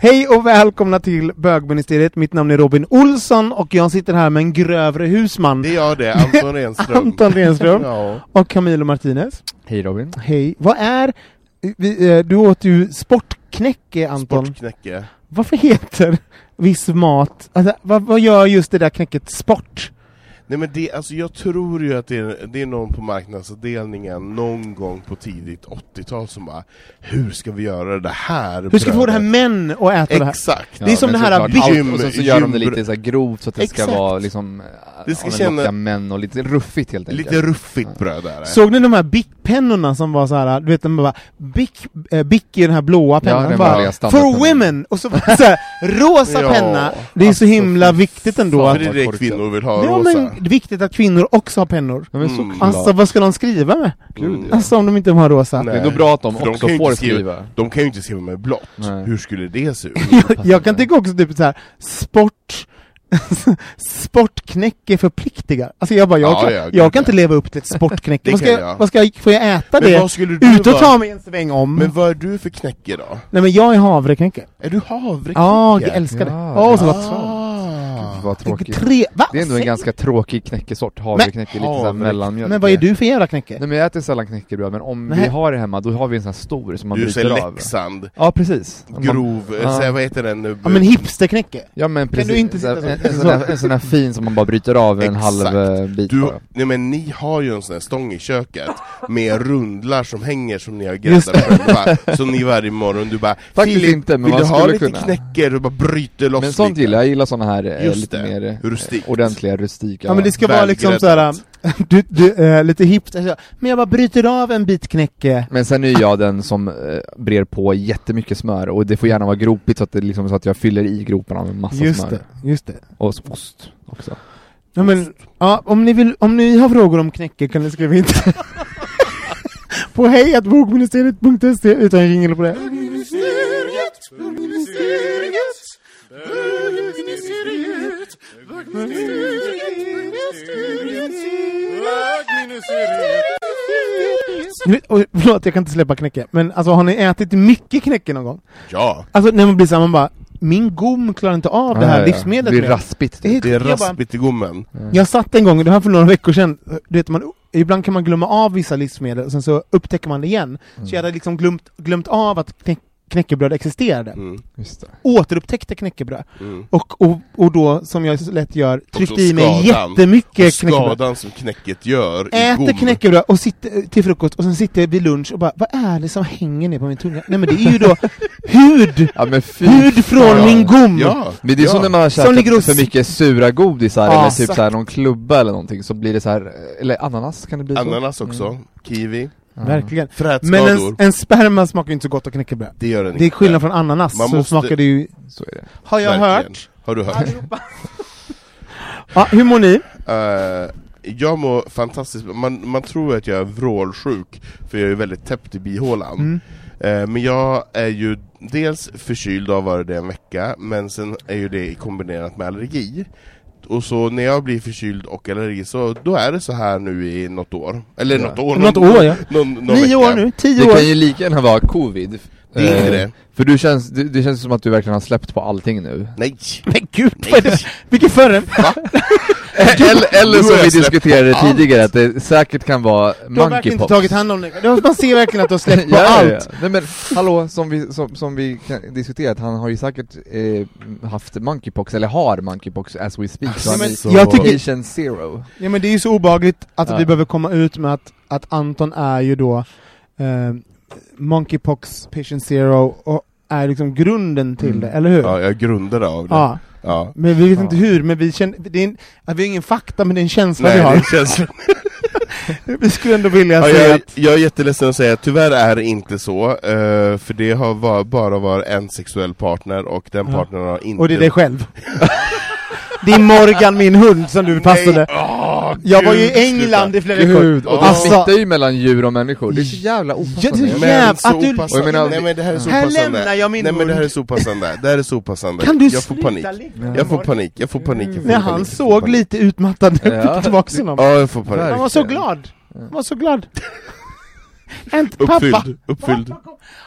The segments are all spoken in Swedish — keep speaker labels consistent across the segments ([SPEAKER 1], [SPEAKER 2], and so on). [SPEAKER 1] Hej och välkomna till bögministeriet, mitt namn är Robin Olsson och jag sitter här med en grövre husman
[SPEAKER 2] Det är jag det, Anton Renström.
[SPEAKER 1] Anton Renström
[SPEAKER 2] Ja.
[SPEAKER 1] och Camilo Martinez
[SPEAKER 3] Hej Robin.
[SPEAKER 1] Hej, vad är... vi, eh, Du åt ju sportknäcke Anton,
[SPEAKER 2] Sportknäcke.
[SPEAKER 1] varför heter viss mat, alltså, vad, vad gör just det där knäcket sport?
[SPEAKER 2] Nej men det, alltså jag tror ju att det är, det är någon på marknadsavdelningen någon gång på tidigt 80-tal som bara Hur ska vi göra det här
[SPEAKER 1] Hur ska vi få det här
[SPEAKER 2] brödet?"
[SPEAKER 1] män att äta det här?
[SPEAKER 2] Exakt!
[SPEAKER 1] Ja, Det är som
[SPEAKER 3] men
[SPEAKER 1] det här
[SPEAKER 3] såklart, allt-
[SPEAKER 2] gym-
[SPEAKER 3] Och sen så gör de det
[SPEAKER 2] gym-
[SPEAKER 3] lite så här grovt så att det ska
[SPEAKER 2] Exakt.
[SPEAKER 3] vara liksom,
[SPEAKER 2] Det
[SPEAKER 3] det
[SPEAKER 2] ska
[SPEAKER 3] ska
[SPEAKER 2] känna-
[SPEAKER 3] locka män och lite ruffigt helt enkelt.
[SPEAKER 2] Lite ruffigt bröd är det.
[SPEAKER 1] Såg ni de här Bic-pennorna som var så här, du vet de bara Bic, eh, Bic i den här blåa pennan
[SPEAKER 3] den
[SPEAKER 1] bara,
[SPEAKER 3] vanliga
[SPEAKER 1] For
[SPEAKER 3] standardpennan.
[SPEAKER 1] women! Och så var det så här, rosa
[SPEAKER 2] Ja,
[SPEAKER 1] penna, det är så
[SPEAKER 3] alltså,
[SPEAKER 1] himla
[SPEAKER 3] fy
[SPEAKER 1] viktigt ändå
[SPEAKER 2] För
[SPEAKER 1] att...
[SPEAKER 2] det är det kvinnor vill ha,
[SPEAKER 1] Ja
[SPEAKER 2] rosa.
[SPEAKER 1] men det är viktigt att kvinnor också har pennor.
[SPEAKER 3] De är så
[SPEAKER 2] Mm.
[SPEAKER 1] Alltså vad ska de skriva med?
[SPEAKER 2] Mm.
[SPEAKER 1] Alltså om de inte har rosa.
[SPEAKER 3] Det är nog bra att de
[SPEAKER 2] För de
[SPEAKER 3] också
[SPEAKER 2] kan ju
[SPEAKER 3] får
[SPEAKER 2] inte skriva-
[SPEAKER 3] skriva.
[SPEAKER 2] De kan ju inte skriva med blått,
[SPEAKER 3] Nej.
[SPEAKER 2] hur skulle det se ut?
[SPEAKER 1] Jag, jag kan tycka också typ så här, sport... sportknäcke förpliktigar. Alltså jag bara, jag,
[SPEAKER 2] Ja,
[SPEAKER 1] kan,
[SPEAKER 2] ja, gud,
[SPEAKER 1] jag kan inte
[SPEAKER 2] ja.
[SPEAKER 1] leva upp till ett sportknäcke.
[SPEAKER 2] Det
[SPEAKER 1] vad, ska
[SPEAKER 2] kan
[SPEAKER 1] jag,
[SPEAKER 2] jag.
[SPEAKER 1] vad ska jag, får jag äta
[SPEAKER 2] Men
[SPEAKER 1] det?
[SPEAKER 2] vad skulle du
[SPEAKER 1] Ut och
[SPEAKER 2] vara?
[SPEAKER 1] ta mig en sväng om!
[SPEAKER 2] Men vad är du för knäcke då?
[SPEAKER 1] Nej men jag är havreknäcke.
[SPEAKER 2] Är du havreknäcke?
[SPEAKER 1] Ja, jag älskar det.
[SPEAKER 3] Ja,
[SPEAKER 1] Åh, så
[SPEAKER 3] det-
[SPEAKER 1] gott.
[SPEAKER 2] Ah.
[SPEAKER 3] Typ Vad tråkigt.
[SPEAKER 1] Tre, va?
[SPEAKER 3] Det är ändå en
[SPEAKER 1] Se-
[SPEAKER 3] ganska tråkig knäckesort, havreknäcke, lite såhär
[SPEAKER 2] havreknäcke.
[SPEAKER 3] mellanmjölk.
[SPEAKER 1] Men vad är du för jävla knäcke?
[SPEAKER 3] Nej men jag äter sällan knäckebröd, men om
[SPEAKER 1] Nej.
[SPEAKER 3] vi har det hemma då har vi en sån här stor som man
[SPEAKER 2] Du säger
[SPEAKER 3] bryter av.
[SPEAKER 2] Leksand,
[SPEAKER 3] Ja precis. Man-
[SPEAKER 2] grov, eh,
[SPEAKER 3] Ja.
[SPEAKER 2] så här, vad heter den?
[SPEAKER 1] Ja men hipsterknäcke.
[SPEAKER 3] Ja men precis.
[SPEAKER 1] du inte
[SPEAKER 3] Så här,
[SPEAKER 1] sitta så?
[SPEAKER 3] en, en, sån här, en sån här fin som man bara bryter av en
[SPEAKER 2] Exakt.
[SPEAKER 3] halv eh, bit
[SPEAKER 2] Du,
[SPEAKER 3] bara.
[SPEAKER 2] nej men ni har ju en sån här stång i köket med rundlar som hänger som ni har
[SPEAKER 1] Just
[SPEAKER 2] gräddat själva, som ni varje morgon, du bara
[SPEAKER 3] Faktiskt
[SPEAKER 2] "Filip,
[SPEAKER 3] inte, men
[SPEAKER 2] vill
[SPEAKER 3] man
[SPEAKER 2] du ha
[SPEAKER 3] skulle
[SPEAKER 2] lite
[SPEAKER 3] kunna."
[SPEAKER 2] knäcker? Du bara bryter loss
[SPEAKER 3] Men sånt
[SPEAKER 2] lite.
[SPEAKER 3] gillar jag, jag gillar såna här eh,
[SPEAKER 2] Just
[SPEAKER 3] lite
[SPEAKER 2] det.
[SPEAKER 3] mer eh,
[SPEAKER 2] Rustikt.
[SPEAKER 3] ordentliga, rustika
[SPEAKER 1] Ja men det ska vara liksom
[SPEAKER 2] Välgräddat.
[SPEAKER 1] såhär, du, du, eh, lite hipster, så- men jag bara bryter av en bit knäcke.
[SPEAKER 3] Men sen är jag den som eh, brer på jättemycket smör och det får gärna vara gropigt så att, det liksom, så att jag fyller i groparna med massa
[SPEAKER 1] Just
[SPEAKER 3] smör
[SPEAKER 1] det, just det.
[SPEAKER 3] och så ost också
[SPEAKER 1] Ja, men, ja, om, ni vill, om ni har frågor om knäcke kan ni skriva in till- på hejatbogministeriet.se utan jingel på det. Nu- Oj, förlåt, jag kan inte släppa knäcke. Men alltså, har ni ätit mycket knäcke någon gång?
[SPEAKER 2] Ja,
[SPEAKER 1] Alltså när man blir såhär, man bara Min gom klarar inte av det här livsmedlet
[SPEAKER 3] Det
[SPEAKER 1] mer."
[SPEAKER 3] blir raspigt
[SPEAKER 1] Det är-
[SPEAKER 2] det är
[SPEAKER 1] jag, bara,
[SPEAKER 2] raspigt i gommen.
[SPEAKER 1] jag satt en gång, det här för några veckor sedan, du vet, man, ibland kan man glömma av vissa livsmedel och sen så upptäcker man det igen.
[SPEAKER 2] Mm.
[SPEAKER 1] Så jag hade liksom glömt, glömt av att knä, knäckebröd existerade.
[SPEAKER 2] Mm.
[SPEAKER 3] Just det.
[SPEAKER 1] Återupptäckte knäckebröd.
[SPEAKER 2] Mm.
[SPEAKER 1] Och, och, och då, som jag så lätt gör, tryckte i mig
[SPEAKER 2] skadan. Och
[SPEAKER 1] jättemycket knäckebröd.
[SPEAKER 2] skadan som knäcket gör i
[SPEAKER 1] Äter
[SPEAKER 2] gom.
[SPEAKER 1] knäckebröd och sitter till frukost och sen sitter jag vid lunch och bara Vad är det som hänger ner på min tunga? Nej men det är ju då hud!
[SPEAKER 3] Ja men fy
[SPEAKER 1] Hud från
[SPEAKER 3] fan.
[SPEAKER 1] min gom!
[SPEAKER 2] Ja,
[SPEAKER 3] Men det är som när man har
[SPEAKER 1] Som ligger och
[SPEAKER 3] käkat
[SPEAKER 1] s-
[SPEAKER 3] för mycket sura godisar
[SPEAKER 1] Ja,
[SPEAKER 3] eller typ
[SPEAKER 1] exakt.
[SPEAKER 3] såhär någon klubba eller någonting så blir det så här eller ananas kan det bli så? Mm.
[SPEAKER 2] ananas också, kiwi,
[SPEAKER 3] Ja.
[SPEAKER 1] Verkligen. Men
[SPEAKER 2] frätskador.
[SPEAKER 1] en, en sperma smakar ju inte så gott av knäckebröd.
[SPEAKER 2] Det gör den
[SPEAKER 1] Det är
[SPEAKER 2] inte.
[SPEAKER 1] skillnad från ananas,
[SPEAKER 2] Man
[SPEAKER 1] så
[SPEAKER 2] måste-
[SPEAKER 1] smakar det ju...
[SPEAKER 3] Så är det.
[SPEAKER 1] Har jag
[SPEAKER 2] Verkligen.
[SPEAKER 1] hört?
[SPEAKER 2] Har du hört?
[SPEAKER 1] Ja, hur mår ni?
[SPEAKER 2] Eh, jag mår fantastiskt bra. man, man tror
[SPEAKER 1] Mm.
[SPEAKER 2] att jag är vrålsjuk, för jag är väldigt täppt i bihålan. Eh, men jag är ju dels förkyld av varit det en vecka, men sen är ju det kombinerat med allergi. Och så när jag blir förkyld och allergi, så då är det så här nu i något år. Eller
[SPEAKER 3] Ja.
[SPEAKER 2] något år,
[SPEAKER 1] Något
[SPEAKER 2] någon,
[SPEAKER 1] år, ja.
[SPEAKER 2] någon, någon
[SPEAKER 1] Nio
[SPEAKER 2] vecka.
[SPEAKER 1] år nu,
[SPEAKER 3] Det
[SPEAKER 1] tio år!
[SPEAKER 3] kan ju lika gärna vara covid.
[SPEAKER 2] Det är inte
[SPEAKER 3] Eh,
[SPEAKER 2] det.
[SPEAKER 3] För du känns, det, det känns som att du verkligen har släppt på allting nu.
[SPEAKER 2] Nej!
[SPEAKER 1] Men gud, vad är
[SPEAKER 2] Nej.
[SPEAKER 1] det? Vilken förre?
[SPEAKER 3] Eller, eller
[SPEAKER 2] Nu har
[SPEAKER 3] som
[SPEAKER 2] jag
[SPEAKER 3] vi
[SPEAKER 2] släppt
[SPEAKER 3] diskuterade
[SPEAKER 2] allt.
[SPEAKER 3] tidigare, att det säkert kan vara
[SPEAKER 1] Du har verkligen
[SPEAKER 3] monkeypox.
[SPEAKER 1] inte tagit hand om det. Du har- Man ser verkligen att du har släppt på
[SPEAKER 3] Ja, ja, ja.
[SPEAKER 1] allt.
[SPEAKER 3] Nej men hallå, som vi, som, som vi kan diskuterat, han har ju säkert eh, haft monkeypox, eller har monkeypox as we speak. så
[SPEAKER 1] Nej,
[SPEAKER 3] han
[SPEAKER 1] men
[SPEAKER 3] är
[SPEAKER 1] jag tycker-
[SPEAKER 3] patient zero.
[SPEAKER 1] Ja men det är ju så obehagligt att
[SPEAKER 3] Ja.
[SPEAKER 1] vi behöver komma ut med att, att Anton är ju då eh, Monkeypox Patient Zero och är liksom grunden till
[SPEAKER 3] Mm.
[SPEAKER 1] det, eller hur?
[SPEAKER 2] Ja, jag grundade av det. Ja.
[SPEAKER 1] Ja. Men vi vet inte
[SPEAKER 3] Ja.
[SPEAKER 1] hur, men vi känner, det är en, ja, vi har ingen fakta men det är en känsla
[SPEAKER 2] Nej,
[SPEAKER 1] vi har.
[SPEAKER 2] det känns...
[SPEAKER 1] Vi skulle ändå vilja
[SPEAKER 2] Ja,
[SPEAKER 1] säga
[SPEAKER 2] jag,
[SPEAKER 1] att
[SPEAKER 2] jag är jätteledsen att säga, tyvärr är det inte så, eh, för det har var, bara varit en sexuell partner och den
[SPEAKER 1] Ja.
[SPEAKER 2] partnern har inte...
[SPEAKER 1] och det är dig själv. det är Morgan, min hund, som du passade.
[SPEAKER 2] Nej. Åh,
[SPEAKER 1] Alltså, Jag var ju
[SPEAKER 2] gud,
[SPEAKER 1] i England i flera veckor.
[SPEAKER 3] Gud, och det
[SPEAKER 1] Alltså-
[SPEAKER 3] smittar ju mellan djur och människor, det är så jävla opassande.
[SPEAKER 1] Ja,
[SPEAKER 2] sluta.
[SPEAKER 1] det är- Jäv-
[SPEAKER 2] Men så
[SPEAKER 1] att du-
[SPEAKER 2] opassande.
[SPEAKER 3] Och jag menar-
[SPEAKER 2] Nej men det här är så
[SPEAKER 1] Här
[SPEAKER 2] opassande.
[SPEAKER 1] lämnar jag min
[SPEAKER 2] Nej men det här är
[SPEAKER 1] hund.
[SPEAKER 2] så opassande, det här är så opassande.
[SPEAKER 1] Kan du
[SPEAKER 2] jag får
[SPEAKER 1] sluta
[SPEAKER 2] panik.
[SPEAKER 1] ligga?
[SPEAKER 2] Jag får panik, jag får panik, jag får panik.
[SPEAKER 1] När han
[SPEAKER 2] jag får
[SPEAKER 1] såg
[SPEAKER 2] panik.
[SPEAKER 1] lite utmattad ut
[SPEAKER 3] Ja.
[SPEAKER 1] ja. tillbaks honom.
[SPEAKER 2] Ja, jag får panik.
[SPEAKER 1] Han var så glad. Han var så glad. Inte pappa.
[SPEAKER 2] Uppfylld, uppfylld.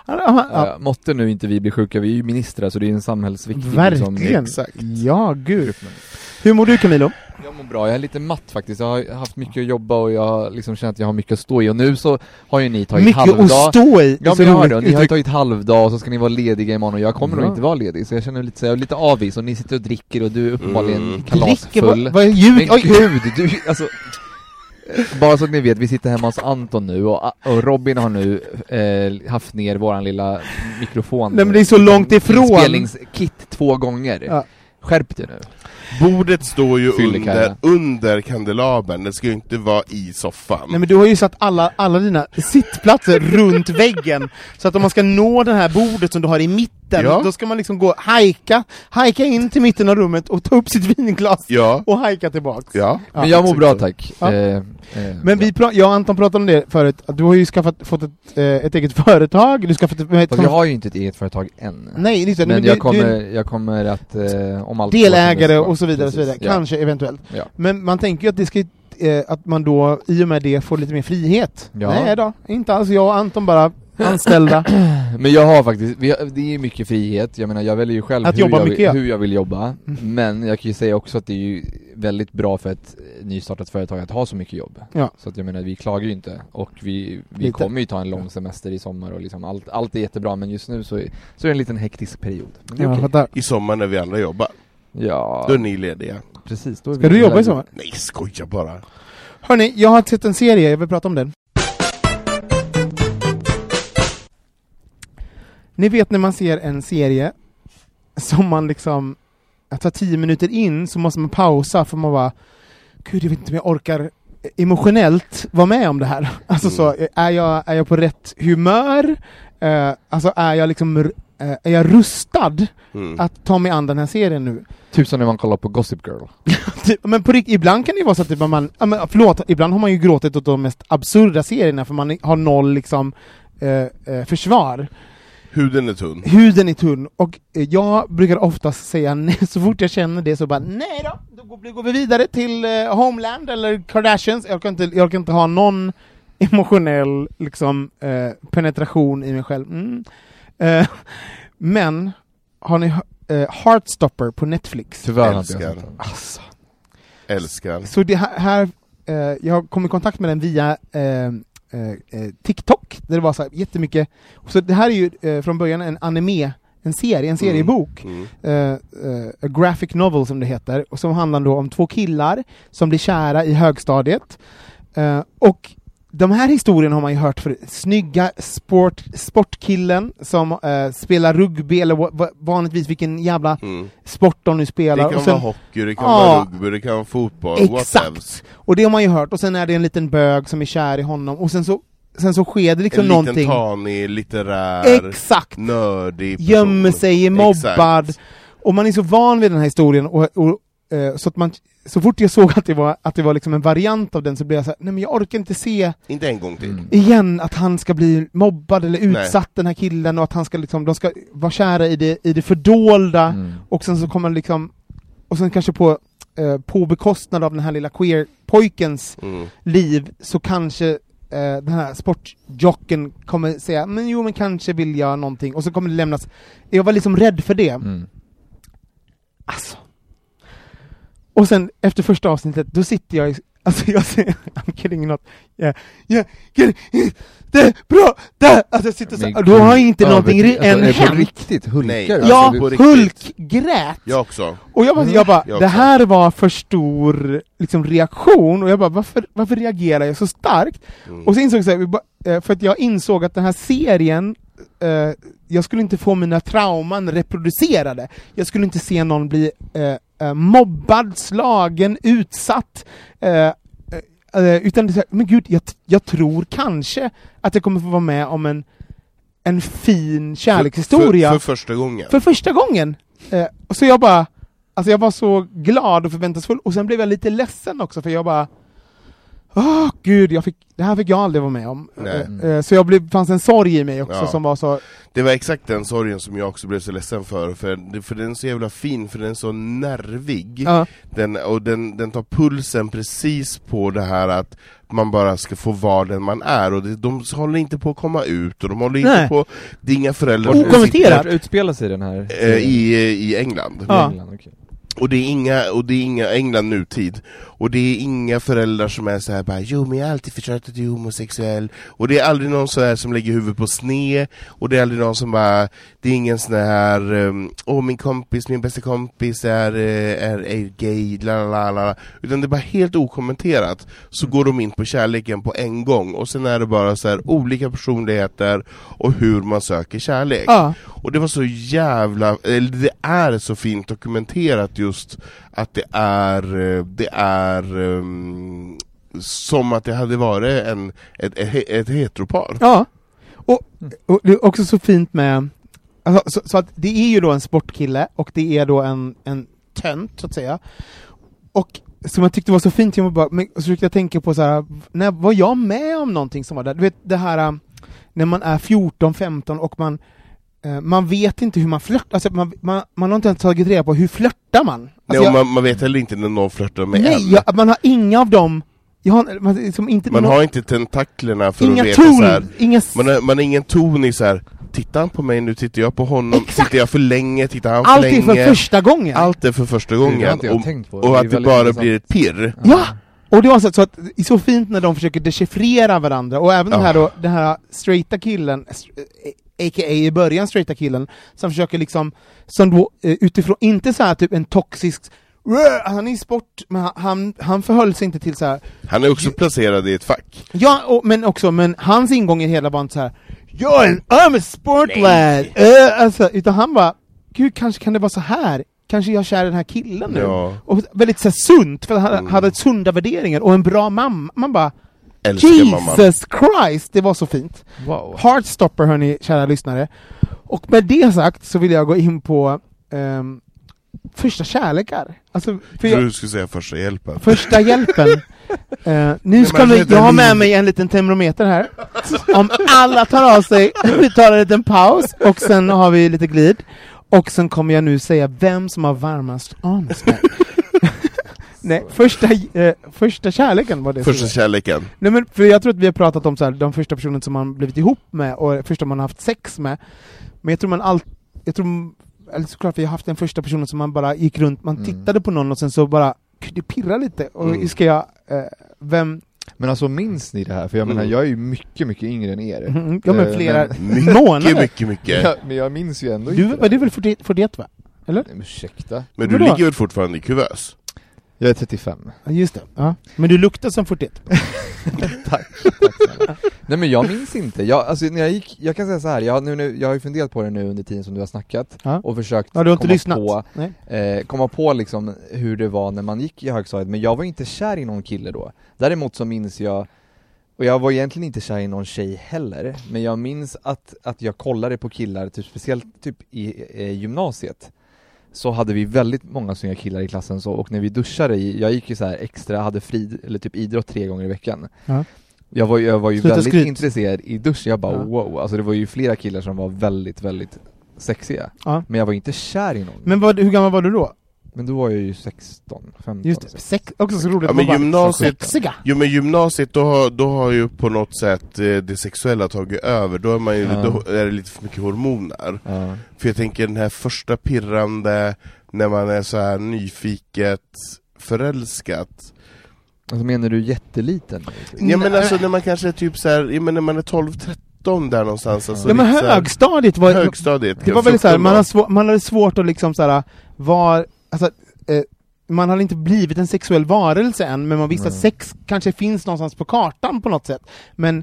[SPEAKER 1] Han- han- han-
[SPEAKER 3] Ja, måtte nu inte vi bli sjuka, vi är ju ministrar så det är ju en samhällsviktig liksom,
[SPEAKER 1] Verkligen.
[SPEAKER 2] exakt.
[SPEAKER 1] Ja, gud.
[SPEAKER 3] grupp.
[SPEAKER 1] Hur mår du Camilo?
[SPEAKER 3] Jag mår bra, jag är lite matt faktiskt. Jag har haft mycket att jobba och jag har liksom känt att jag har mycket att stå i och nu så har ju ni tagit
[SPEAKER 1] Mycket
[SPEAKER 3] halvdag.
[SPEAKER 1] att stå i.
[SPEAKER 3] Ja
[SPEAKER 1] Så
[SPEAKER 3] men jag har
[SPEAKER 1] roligt
[SPEAKER 3] det, och ni har ju
[SPEAKER 1] uttryck.
[SPEAKER 3] tagit halvdag och så ska ni vara lediga imorgon och jag kommer
[SPEAKER 1] Ja.
[SPEAKER 3] nog inte vara ledig så jag känner lite så jag är lite avis och ni sitter och dricker och du är uppenbarligen
[SPEAKER 2] Mm.
[SPEAKER 1] Dricker,
[SPEAKER 3] kalasfull.
[SPEAKER 1] vad- vad är ljud?
[SPEAKER 3] men
[SPEAKER 1] Oj,
[SPEAKER 3] gud, du alltså bara så att ni vet, vi sitter hemma hos Anton nu och, och Robin har nu eh, haft ner våran lilla mikrofon
[SPEAKER 1] Nej men det är så långt ifrån.
[SPEAKER 3] Inspelningskit två gånger.
[SPEAKER 1] Ja.
[SPEAKER 3] Skärp dig nu.
[SPEAKER 2] Bordet står ju under,
[SPEAKER 3] Fyllekärra.
[SPEAKER 2] under kandelabern, det ska ju inte vara i soffan.
[SPEAKER 1] Nej men du har ju satt alla, alla dina sittplatser runt väggen, så att om man ska nå det här bordet som du har i mitten,
[SPEAKER 2] Ja.
[SPEAKER 1] då ska man liksom gå hajka, hajka in till mitten av rummet och ta upp sitt vinglas
[SPEAKER 2] Ja,
[SPEAKER 1] och hajka tillbaks.
[SPEAKER 2] ja.
[SPEAKER 3] Men jag mår
[SPEAKER 2] exakt
[SPEAKER 3] bra
[SPEAKER 2] så.
[SPEAKER 3] tack.
[SPEAKER 1] Ja.
[SPEAKER 3] Eh, eh,
[SPEAKER 1] Men vi pra- jag och Anton pratade om det förut, att du har ju skaffat, fått ett, eh, ett eget företag, du skaffat ett... ett
[SPEAKER 3] Fast jag har ju inte ett eget företag än.
[SPEAKER 1] Nej, just det.
[SPEAKER 3] men
[SPEAKER 1] du-
[SPEAKER 3] jag
[SPEAKER 1] du-
[SPEAKER 3] kommer, jag kommer att, eh, om allt går som det
[SPEAKER 1] Delägare
[SPEAKER 3] ska.
[SPEAKER 1] och så vidare, och så
[SPEAKER 3] Precis,
[SPEAKER 1] vidare. kanske eventuellt.
[SPEAKER 3] Ja.
[SPEAKER 1] Men man tänker ju att det ska ju, eh, att man då i och med det får lite mer frihet.
[SPEAKER 3] Ja.
[SPEAKER 1] Nej då, inte alls. Jag och Anton bara anställda.
[SPEAKER 3] Ja. Men jag har faktiskt, vi har, det är ju mycket frihet, jag menar jag väljer ju själv
[SPEAKER 1] Att
[SPEAKER 3] hur,
[SPEAKER 1] jobba
[SPEAKER 3] jag
[SPEAKER 1] mycket, Mm.
[SPEAKER 3] vill,
[SPEAKER 1] ja.
[SPEAKER 3] hur jag vill jobba, men jag kan ju säga också att det är ju väldigt bra för ett eh, nystartat företag att ha så mycket jobb.
[SPEAKER 1] Ja.
[SPEAKER 3] Så att jag menar, vi klagar ju inte och vi, vi
[SPEAKER 1] Lite.
[SPEAKER 3] kommer ju ta en lång semester i sommar och liksom allt, allt är jättebra men just nu så är, så är det en liten hektisk period. Men det är
[SPEAKER 1] Ja,
[SPEAKER 3] okej.
[SPEAKER 1] fattar.
[SPEAKER 2] I sommar när vi andra jobbar,
[SPEAKER 3] Ja,
[SPEAKER 2] då är ni lediga.
[SPEAKER 3] precis. Då är
[SPEAKER 1] Ska
[SPEAKER 3] vi
[SPEAKER 1] du jobba i
[SPEAKER 3] lediga.
[SPEAKER 1] sommar?
[SPEAKER 2] Nej, skoja bara.
[SPEAKER 1] Hörni, jag har sett en serie, jag vill prata om den. Ni vet när man ser en serie som man liksom, att ta tio minuter in så måste man pausa för man bara Gud, jag vet inte om jag orkar emotionellt vara med om det här. Alltså så, är jag, är jag på rätt humör? Eh, alltså är jag liksom, r- eh, är jag rustad
[SPEAKER 2] Mm.
[SPEAKER 1] att ta mig an den här serien nu?
[SPEAKER 3] Typ som när man kollar på Gossip Girl.
[SPEAKER 1] Typ, men på riktigt, ibland kan det ju vara så att typ, att man, ja, men, förlåt, ibland har man ju gråtit åt de mest absurda serierna för man har noll liksom eh, eh, försvar.
[SPEAKER 2] Huden är tunn.
[SPEAKER 1] Huden är tunn och eh, jag brukar oftast säga nej, så fort jag känner det så bara nej då, då går, går vi vidare till eh, Homeland eller Kardashians, jag kan inte, jag kan inte ha någon emotionell liksom eh, penetration i mig själv. Mm. Eh, men, har ni eh, Heartstopper på Netflix?
[SPEAKER 3] Tyvärr har inte jag
[SPEAKER 2] Älskar.
[SPEAKER 3] sett den.
[SPEAKER 1] Alltså,
[SPEAKER 2] Älskar.
[SPEAKER 1] Så det här, här eh, jag kom i kontakt med den via eh, eh, eh, TikTok, där det var så här jättemycket, så det här är ju eh, från början en anime, en serie, en seriebok,
[SPEAKER 2] Mm.
[SPEAKER 1] eh, eh, a graphic novel som det heter, och som handlar då om två killar som blir kära i högstadiet, eh, och de här historierna har man ju hört för Snygga sport, sportkillen som eh, spelar rugby, eller va- va- vanligtvis vilken jävla
[SPEAKER 2] Mm.
[SPEAKER 1] sport de nu
[SPEAKER 2] Det
[SPEAKER 1] spelar.
[SPEAKER 2] kan
[SPEAKER 1] och sen-
[SPEAKER 2] vara hockey, det kan
[SPEAKER 1] Ja.
[SPEAKER 2] vara rugby, det kan vara fotboll,
[SPEAKER 1] Exakt.
[SPEAKER 2] whatevs.
[SPEAKER 1] Och det har man ju hört, och sen är det en liten bög som är kär i honom, och sen så, sen så sker det liksom
[SPEAKER 2] En
[SPEAKER 1] någonting...
[SPEAKER 2] liten tanig, litterär,
[SPEAKER 1] Exakt!
[SPEAKER 2] nördig person.
[SPEAKER 1] Gömmer sig, är mobbad,
[SPEAKER 2] Exakt.
[SPEAKER 1] och man är så van vid den här historien, och, och Eh, så att man, så fort jag såg att det var, att det var liksom en variant av den så blev jag så här, nej men jag orkar inte se
[SPEAKER 2] Inte en gång till.
[SPEAKER 3] Mm.
[SPEAKER 1] igen att han ska bli mobbad eller
[SPEAKER 2] Nej.
[SPEAKER 1] utsatt den här killen och att han ska liksom, de ska vara kära i det, i det fördolda
[SPEAKER 3] Mm.
[SPEAKER 1] och sen så kommer liksom, och sen kanske på, eh, på bekostnad av den här lilla queer-pojkens
[SPEAKER 2] Mm.
[SPEAKER 1] liv så kanske eh, den här sportjocken kommer säga men jo men kanske vill jag någonting och så kommer det lämnas. Jag var liksom rädd för det.
[SPEAKER 3] Mm.
[SPEAKER 1] Alltså. Och sen efter första avsnittet, då sitter jag i, alltså jag ser, I'm kidding not, yeah, yeah, kidding, det är bra, där! Alltså jag sitter såhär,
[SPEAKER 3] Men
[SPEAKER 1] då har inte
[SPEAKER 3] gud,
[SPEAKER 1] någonting
[SPEAKER 3] överdrivet.
[SPEAKER 1] ri- än
[SPEAKER 3] alltså, är det på
[SPEAKER 1] hänt.
[SPEAKER 3] riktigt? Hulkar
[SPEAKER 2] Nej,
[SPEAKER 3] du?
[SPEAKER 2] alltså,
[SPEAKER 1] Ja,
[SPEAKER 2] det- på riktigt.
[SPEAKER 1] Hulk grät!
[SPEAKER 2] Jag också.
[SPEAKER 1] Och jag bara, jag bara
[SPEAKER 2] Mm. Jag
[SPEAKER 1] det
[SPEAKER 2] också.
[SPEAKER 1] här var för stor liksom, reaktion, och jag bara, varför, varför reagerar jag så starkt?
[SPEAKER 2] Mm.
[SPEAKER 1] Och så insåg jag, så här, vi ba- eh, för att jag insåg att den här serien, eh, jag skulle inte få mina trauman reproducerade. Jag skulle inte se någon bli eh, eh, mobbad, slagen, utsatt. Eh, eh, eh, utan det är så här, men gud, jag, t- jag tror kanske att jag kommer få vara med om en, en fin kärlekshistoria.
[SPEAKER 2] För, för, för första gången.
[SPEAKER 1] För första gången! Eh, och så jag bara, alltså jag var så glad och förväntansfull, och sen blev jag lite ledsen också för jag bara Åh gud, jag fick, det här fick jag aldrig vara med om.
[SPEAKER 2] Nej.
[SPEAKER 1] Eh, eh, så jag blev, fanns en sorg i mig också
[SPEAKER 2] Ja.
[SPEAKER 1] som var så,
[SPEAKER 2] Det var exakt den sorgen som jag också blev så ledsen för, för, det- för den är så jävla fin, för den är så nervig.
[SPEAKER 1] ja,
[SPEAKER 2] Den, och den, den tar pulsen precis på det här att man bara ska få vara den man är, och det, de håller inte på att komma ut, och de håller
[SPEAKER 1] Nej.
[SPEAKER 2] inte på... Det är inga föräldrar som
[SPEAKER 1] Okommenterat.
[SPEAKER 3] Vart utspelar sig den här?
[SPEAKER 2] sitter, eh, i, i England.
[SPEAKER 1] Ja.
[SPEAKER 3] England, okej.
[SPEAKER 2] Och det är inga, och det är inga, England nutid, och det är inga föräldrar som är så här bara 'Jo men jag har alltid förstått att du är homosexuell' Och det är aldrig någon så här som lägger huvudet på sne, och det är aldrig någon som bara Det är ingen sån här ehm, 'Åh min kompis, min bästa kompis är, eh, är, är gay, la la la la Utan det är bara helt okommenterat, så går de in på kärleken på en gång, och sen är det bara så här olika personligheter och hur man söker kärlek
[SPEAKER 1] ja,
[SPEAKER 2] och det var så jävla, eller det är så fint dokumenterat just att det är, eh, det är ehm, som att det hade varit en, ett, ett, ett heteropar.
[SPEAKER 1] ja. Och, och det är också så fint med, alltså, så, så att det är ju då en sportkille och det är då en, en tönt så att säga. Och som jag tyckte var så fint, jag var bara, men, och så försökte jag tänka på så här, när var jag med om någonting som var där? Du vet det här äh, när man är 14, 15 och man eh, man vet inte hur man flörtar, alltså man, man, man har inte ens tagit reda på hur flörtar man?
[SPEAKER 2] Nej,
[SPEAKER 1] Alltså,
[SPEAKER 2] och
[SPEAKER 1] jag,
[SPEAKER 2] man, man vet heller inte när någon flörtar med en.
[SPEAKER 1] nej jag, man har inga av dem, jag har, man, liksom inte
[SPEAKER 2] man
[SPEAKER 1] någon-
[SPEAKER 2] har inte tentaklerna för
[SPEAKER 1] inga
[SPEAKER 2] att veta så här.
[SPEAKER 1] ton, inga s-
[SPEAKER 2] Man har, man har ingen ton i så här. tittar han på mig nu, tittar jag på honom,
[SPEAKER 1] Exakt.
[SPEAKER 2] tittar jag för länge, tittar han för
[SPEAKER 1] allt är
[SPEAKER 2] länge?
[SPEAKER 1] för första gången!
[SPEAKER 2] Allt är för första
[SPEAKER 3] Det har
[SPEAKER 2] gången,
[SPEAKER 3] inte jag
[SPEAKER 2] och,
[SPEAKER 3] tänkt på.
[SPEAKER 2] och
[SPEAKER 3] är
[SPEAKER 2] att det
[SPEAKER 3] väldigt
[SPEAKER 2] bara
[SPEAKER 3] intressant.
[SPEAKER 2] blir ett pirr.
[SPEAKER 1] Ja! Och det var så, att- så att, det är så fint när de försöker dechiffrera varandra, och även den här då, den här straighta killen, str- eh, a.k.a. i början straighta killen, som försöker liksom, som då eh, utifrån, inte så här typ en toxisk "Rö!" Alltså han är i sport, men han- han, han förhöll sig inte till så här.
[SPEAKER 2] Han är också placerad i ett fack.
[SPEAKER 1] ja, och, men också, men hans ingång i hela var inte så här. Jag är en, I'm a sport lad! Eh, alltså, utan han bara, gud kanske kan det vara så här kanske jag är kär i den här killen nu?
[SPEAKER 2] Ja. Mm.
[SPEAKER 1] Och väldigt så här, sunt, för han hade sunda värderingar och en bra mamma. Man bara
[SPEAKER 2] Älskar mamman.
[SPEAKER 1] Jesus Christ, det var så fint.
[SPEAKER 3] Wow.
[SPEAKER 1] Heartstopper hörni, kära lyssnare. Och med det sagt så vill jag gå in på ehm, första kärlekar. Alltså, för
[SPEAKER 2] Jag
[SPEAKER 1] jag,
[SPEAKER 2] trodde du skulle säga första hjälpen.
[SPEAKER 1] första hjälpen. Eh, nu
[SPEAKER 2] man
[SPEAKER 1] ska vi,
[SPEAKER 2] räddar
[SPEAKER 1] jag har med
[SPEAKER 2] liv.
[SPEAKER 1] mig en liten termometer här. Om alla tar av sig, vi tar en liten paus och sen har vi lite glid. Och sen kommer jag nu säga vem som har varmast armspänd. Nej, första, eh, första kärleken var det som
[SPEAKER 2] Första
[SPEAKER 1] var.
[SPEAKER 2] kärleken.
[SPEAKER 1] Nej men för jag tror att vi har pratat om så här, de första personerna som man blivit ihop med och första man har haft sex med. Men jag tror man allt, jag tror, eller såklart vi har haft den första personen som man bara gick runt, man
[SPEAKER 3] Mm.
[SPEAKER 1] tittade på någon och sen så bara, "Gud, det pirrar lite, och
[SPEAKER 2] Mm.
[SPEAKER 1] ska jag, eh, vem,
[SPEAKER 3] Men alltså minns ni det här? För jag menar,
[SPEAKER 2] Mm.
[SPEAKER 3] jag är ju mycket, mycket yngre än er.
[SPEAKER 1] mm, ja men
[SPEAKER 3] Eh,
[SPEAKER 1] flera
[SPEAKER 2] Mycket,
[SPEAKER 1] månader?
[SPEAKER 2] Mycket, mycket, mycket.
[SPEAKER 3] Ja, men jag minns ju ändå
[SPEAKER 1] Du,
[SPEAKER 3] inte
[SPEAKER 1] var du
[SPEAKER 3] det.
[SPEAKER 1] är väl 40 41 va?
[SPEAKER 3] Nej, men Ursäkta.
[SPEAKER 2] Men du
[SPEAKER 1] Vadå?
[SPEAKER 2] ligger väl fortfarande i kuvös?
[SPEAKER 3] Jag är 35.
[SPEAKER 1] Ja, Just det, ja. Men du luktar som 41.
[SPEAKER 3] Tack. Tack snälla. Nej men jag minns inte. Jag, alltså, när jag, gick, jag kan säga så här. Jag, har nu, nu, jag har ju funderat på det nu under tiden som du har snackat
[SPEAKER 1] Ja.
[SPEAKER 3] och försökt
[SPEAKER 1] Ja, du har inte
[SPEAKER 3] komma
[SPEAKER 1] lyssnat.
[SPEAKER 3] på,
[SPEAKER 1] Nej.
[SPEAKER 3] eh, komma på liksom hur det var när man gick i högstadiet, men jag var ju inte kär i någon kille då. Däremot så minns jag, och jag var egentligen inte kär i någon tjej heller, men jag minns att, att jag kollade på killar, typ, speciellt typ i eh, gymnasiet. så hade vi väldigt många snygga killar i klassen så, och när vi duschade, i, jag gick ju så här extra, hade fri, eller typ idrott tre gånger i veckan
[SPEAKER 1] Ja.
[SPEAKER 3] Jag var, ju- jag var ju
[SPEAKER 1] Sluta
[SPEAKER 3] väldigt
[SPEAKER 1] skryt.
[SPEAKER 3] intresserad i duschen, jag bara
[SPEAKER 1] Ja.
[SPEAKER 3] wow, alltså det var ju flera killar som var väldigt, väldigt sexiga
[SPEAKER 1] Ja.
[SPEAKER 3] Men jag var inte kär i någon, men,
[SPEAKER 1] Men vad, hur gammal var du då?
[SPEAKER 3] då var jag ju 16, 15
[SPEAKER 1] Just det, sex, också så roligt
[SPEAKER 2] Ja,
[SPEAKER 1] att
[SPEAKER 2] men
[SPEAKER 1] man bara,
[SPEAKER 2] gymnasiet-
[SPEAKER 1] sexiga!
[SPEAKER 2] Jo men gymnasiet, då har, då har ju på något sätt eh, det sexuella tagit över, då är, man ju,
[SPEAKER 3] Ja.
[SPEAKER 2] då är det lite för mycket hormoner.
[SPEAKER 3] Ja,
[SPEAKER 2] För jag tänker den här första pirrande, när man är så här nyfiket förälskat.
[SPEAKER 3] alltså menar du jätteliten?
[SPEAKER 2] Ja men alltså när man kanske är typ så här, ja, men när man är 12-13 där någonstans. Alltså,
[SPEAKER 1] Ja men
[SPEAKER 2] lite så här-
[SPEAKER 1] högstadiet var
[SPEAKER 2] högstadiet.
[SPEAKER 1] Det var väl såhär, man, har svå- man hade svårt att liksom såhär, var, alltså, eh, man hade inte blivit en sexuell varelse än, men man visste att
[SPEAKER 3] Nej.
[SPEAKER 1] sex kanske finns någonstans på kartan på något sätt. Men,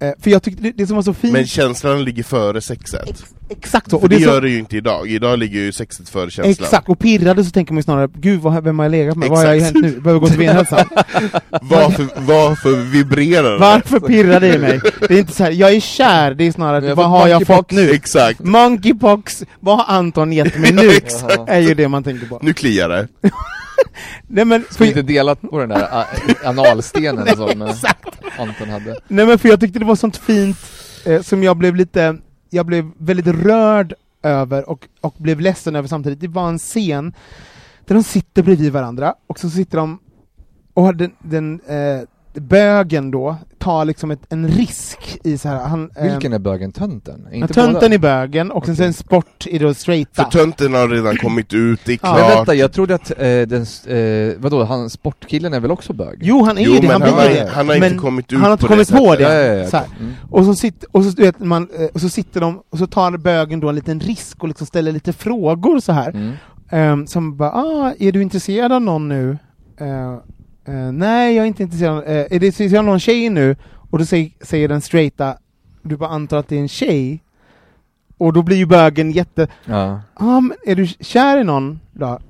[SPEAKER 1] eh, för jag tyckte det, det som var så fint,
[SPEAKER 2] Men känslan ligger före sexet.
[SPEAKER 1] ex, exakt så,
[SPEAKER 2] Och
[SPEAKER 1] och
[SPEAKER 2] det,
[SPEAKER 1] det,
[SPEAKER 2] gör
[SPEAKER 1] som,
[SPEAKER 2] det ju inte idag, idag ligger ju sexet före känslan.
[SPEAKER 1] exakt, och pirrade så tänker man ju snarare, gud vad, vem har jag legat med, vad har jag
[SPEAKER 2] Exakt.
[SPEAKER 1] hänt nu, behöver gå till alltså." benhälsan.
[SPEAKER 2] Varför, varför vibrerar det?
[SPEAKER 1] Varför pirrar det i mig? Det är inte såhär, jag är kär, det är snarare,
[SPEAKER 3] Men jag
[SPEAKER 1] vad
[SPEAKER 3] fick
[SPEAKER 1] har jag fått
[SPEAKER 3] monkeypox.
[SPEAKER 1] nu?
[SPEAKER 2] Exakt,
[SPEAKER 1] Monkeypox, vad har Anton gett mig
[SPEAKER 2] Ja,
[SPEAKER 1] nu?
[SPEAKER 2] exakt.
[SPEAKER 1] är ju det man tänker på.
[SPEAKER 2] nu kliar det.
[SPEAKER 1] Nej men,
[SPEAKER 3] Ska
[SPEAKER 1] för,
[SPEAKER 3] vi inte dela på den där a- analstenen som eh, Anton hade?
[SPEAKER 1] Nej men för jag tyckte det var sånt fint eh, som jag blev lite, jag blev väldigt rörd över och, och blev ledsen över samtidigt. Det var en scen där de sitter bredvid varandra och så sitter de och har den, den eh, bögen då tar liksom ett, en risk i så här, han, eh,
[SPEAKER 3] Vilken är bögen? Tönten? Är
[SPEAKER 1] han
[SPEAKER 3] Inte båda?
[SPEAKER 1] tönten i bögen och sen,
[SPEAKER 3] Okej.
[SPEAKER 1] sen sport i då
[SPEAKER 2] För
[SPEAKER 1] straighta.
[SPEAKER 2] tönten har redan kommit ut, det är
[SPEAKER 1] Ja.
[SPEAKER 2] klart.
[SPEAKER 3] Men vänta, jag trodde att eh, den, s- eh, vadå, han sportkillen är väl också bög?
[SPEAKER 1] Jo han är
[SPEAKER 2] jo
[SPEAKER 1] ju det,
[SPEAKER 2] men
[SPEAKER 1] han
[SPEAKER 2] han,
[SPEAKER 1] blir
[SPEAKER 2] har,
[SPEAKER 1] ju det.
[SPEAKER 2] han har inte
[SPEAKER 1] Men
[SPEAKER 2] kommit ut
[SPEAKER 1] han har inte
[SPEAKER 2] på
[SPEAKER 1] kommit
[SPEAKER 2] det
[SPEAKER 1] på
[SPEAKER 2] sättet.
[SPEAKER 1] det.
[SPEAKER 3] Ja, ja, ja,
[SPEAKER 1] Så här.
[SPEAKER 3] okej. Mm.
[SPEAKER 1] Och så, sit, och, så, du vet, man, eh, och så sitter de, och så tar bögen då en liten risk och liksom ställer lite frågor så här.
[SPEAKER 3] Mm.
[SPEAKER 1] Ehm, som bara ah, är du intresserad av någon nu? Eh, eh, nej, jag är inte intresserad. Uh, är du intresserad av någon tjej nu? Och då säger, säger den straighta, du bara antar att det är en tjej. Och då blir ju bögen jätte,
[SPEAKER 3] Ja.
[SPEAKER 1] ah, men är du kär i någon då? Ja.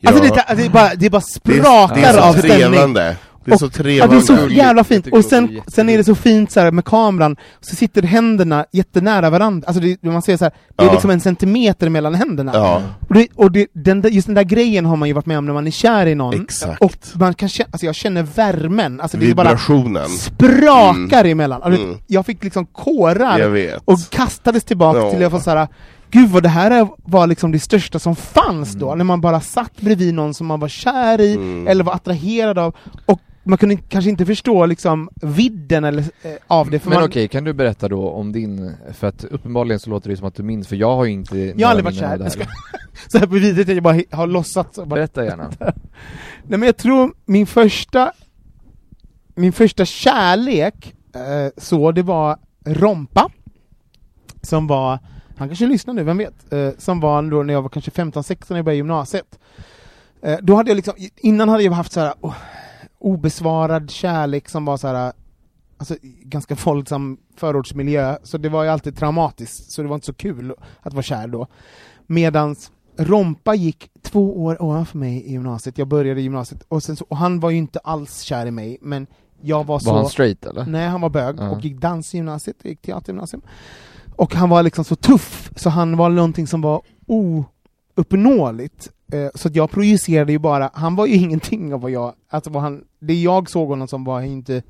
[SPEAKER 2] Ja.
[SPEAKER 1] Alltså, det, alltså det, är bara, det är bara
[SPEAKER 2] Det är,
[SPEAKER 1] sprakar
[SPEAKER 2] det är så
[SPEAKER 1] av stämning.
[SPEAKER 2] trevande. Det är
[SPEAKER 1] Och-
[SPEAKER 2] så
[SPEAKER 1] Ja, det
[SPEAKER 2] trevande.
[SPEAKER 1] är så
[SPEAKER 3] Trevande.
[SPEAKER 1] jävla
[SPEAKER 3] Jag
[SPEAKER 1] fint,
[SPEAKER 3] tycker
[SPEAKER 1] och
[SPEAKER 3] också det är
[SPEAKER 1] sen,
[SPEAKER 3] jätteroligt.
[SPEAKER 1] sen är det så fint så här med kameran, så sitter händerna jättenära varandra, alltså det, man ser så här, det är
[SPEAKER 2] Ja.
[SPEAKER 1] liksom en centimeter mellan händerna.
[SPEAKER 2] Ja,
[SPEAKER 1] Och, det, och det, den där, just den där grejen har man ju varit med om när man är kär i någon,
[SPEAKER 2] Exakt.
[SPEAKER 1] och man kan känna, alltså jag känner värmen, alltså det är bara
[SPEAKER 2] vibrationen.
[SPEAKER 1] sprakar emellan. Alltså,
[SPEAKER 2] Mm.
[SPEAKER 1] Jag fick liksom kårar
[SPEAKER 2] Jag vet.
[SPEAKER 1] och kastades tillbaka
[SPEAKER 2] Ja.
[SPEAKER 1] till jag var så här. Gud vad det här är- var liksom det största som fanns
[SPEAKER 2] Mm.
[SPEAKER 1] då, när man bara satt bredvid någon som man var kär i, eller var attraherad av, och man kunde kanske inte förstå liksom vidden eller, eh, av det, för
[SPEAKER 3] Men
[SPEAKER 1] man,
[SPEAKER 3] okej, kan du berätta då om din, för att uppenbarligen så låter det ju som att du minns, för jag har ju inte
[SPEAKER 1] jag
[SPEAKER 3] några
[SPEAKER 1] har aldrig varit
[SPEAKER 3] minnen
[SPEAKER 1] kär,
[SPEAKER 3] av det
[SPEAKER 1] jag ska, så här bredvid att jag bara he- har låtsats. och Bara,
[SPEAKER 3] Berätta gärna.
[SPEAKER 1] Nej men jag tror min första Min första kärlek eh, så det var Rompa Som var, han kanske lyssnar nu, vem vet? Eh, som var då när jag var kanske 15-16 när jag började gymnasiet eh, Då hade jag liksom, innan hade jag haft så här oh, obesvarad kärlek som var så här Alltså ganska våldsam förortsmiljö, så det var ju alltid traumatiskt, så det var inte så kul att vara kär då Medans Rompa gick två år ovanför mig i gymnasiet, jag började i gymnasiet, och, sen så, och han var ju inte alls kär i mig, men jag var så...
[SPEAKER 3] Var han straight eller?
[SPEAKER 1] Nej, han var bög
[SPEAKER 3] Ja.
[SPEAKER 1] och gick dansgymnasiet, gick teatergymnasium. Och han var liksom så tuff, så han var någonting som var ouppnåeligt. Eh, Så att jag projicerade ju bara, han var ju ingenting av vad jag, alltså vad han, det jag såg honom som var inte,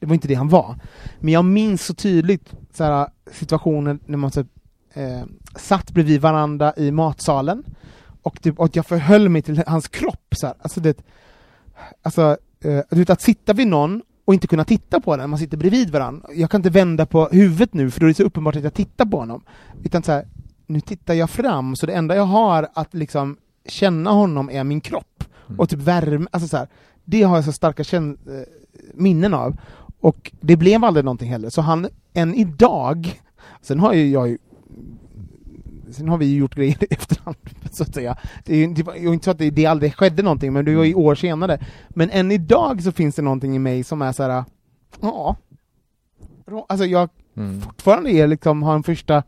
[SPEAKER 1] det var inte det han var. Men jag minns så tydligt så här, situationen när man typ, eh, satt bredvid varandra i matsalen och, typ, och jag förhöll mig till hans kropp så här. Alltså det, alltså, eh, du vet, att sitta vid någon och inte kunna titta på den, man sitter bredvid varandra. Jag kan inte vända på huvudet nu för då är det så uppenbart att jag tittar på honom. Utan så här, nu tittar jag fram, så det enda jag har att liksom känna honom är min kropp. Och typ värme, alltså så här, det har jag så starka känn- eh, minnen av. Och det blev aldrig någonting heller, så han, än idag, sen har ju jag ju Sen har vi ju gjort grejer i efterhand, så att säga. Det är ju det var ju inte så att det, det aldrig skedde någonting, men det var ju
[SPEAKER 2] Mm.
[SPEAKER 1] år senare. Men än idag så finns det någonting i mig som är så här. ja. Rå- Alltså jag
[SPEAKER 3] Mm.
[SPEAKER 1] fortfarande är liksom, har en första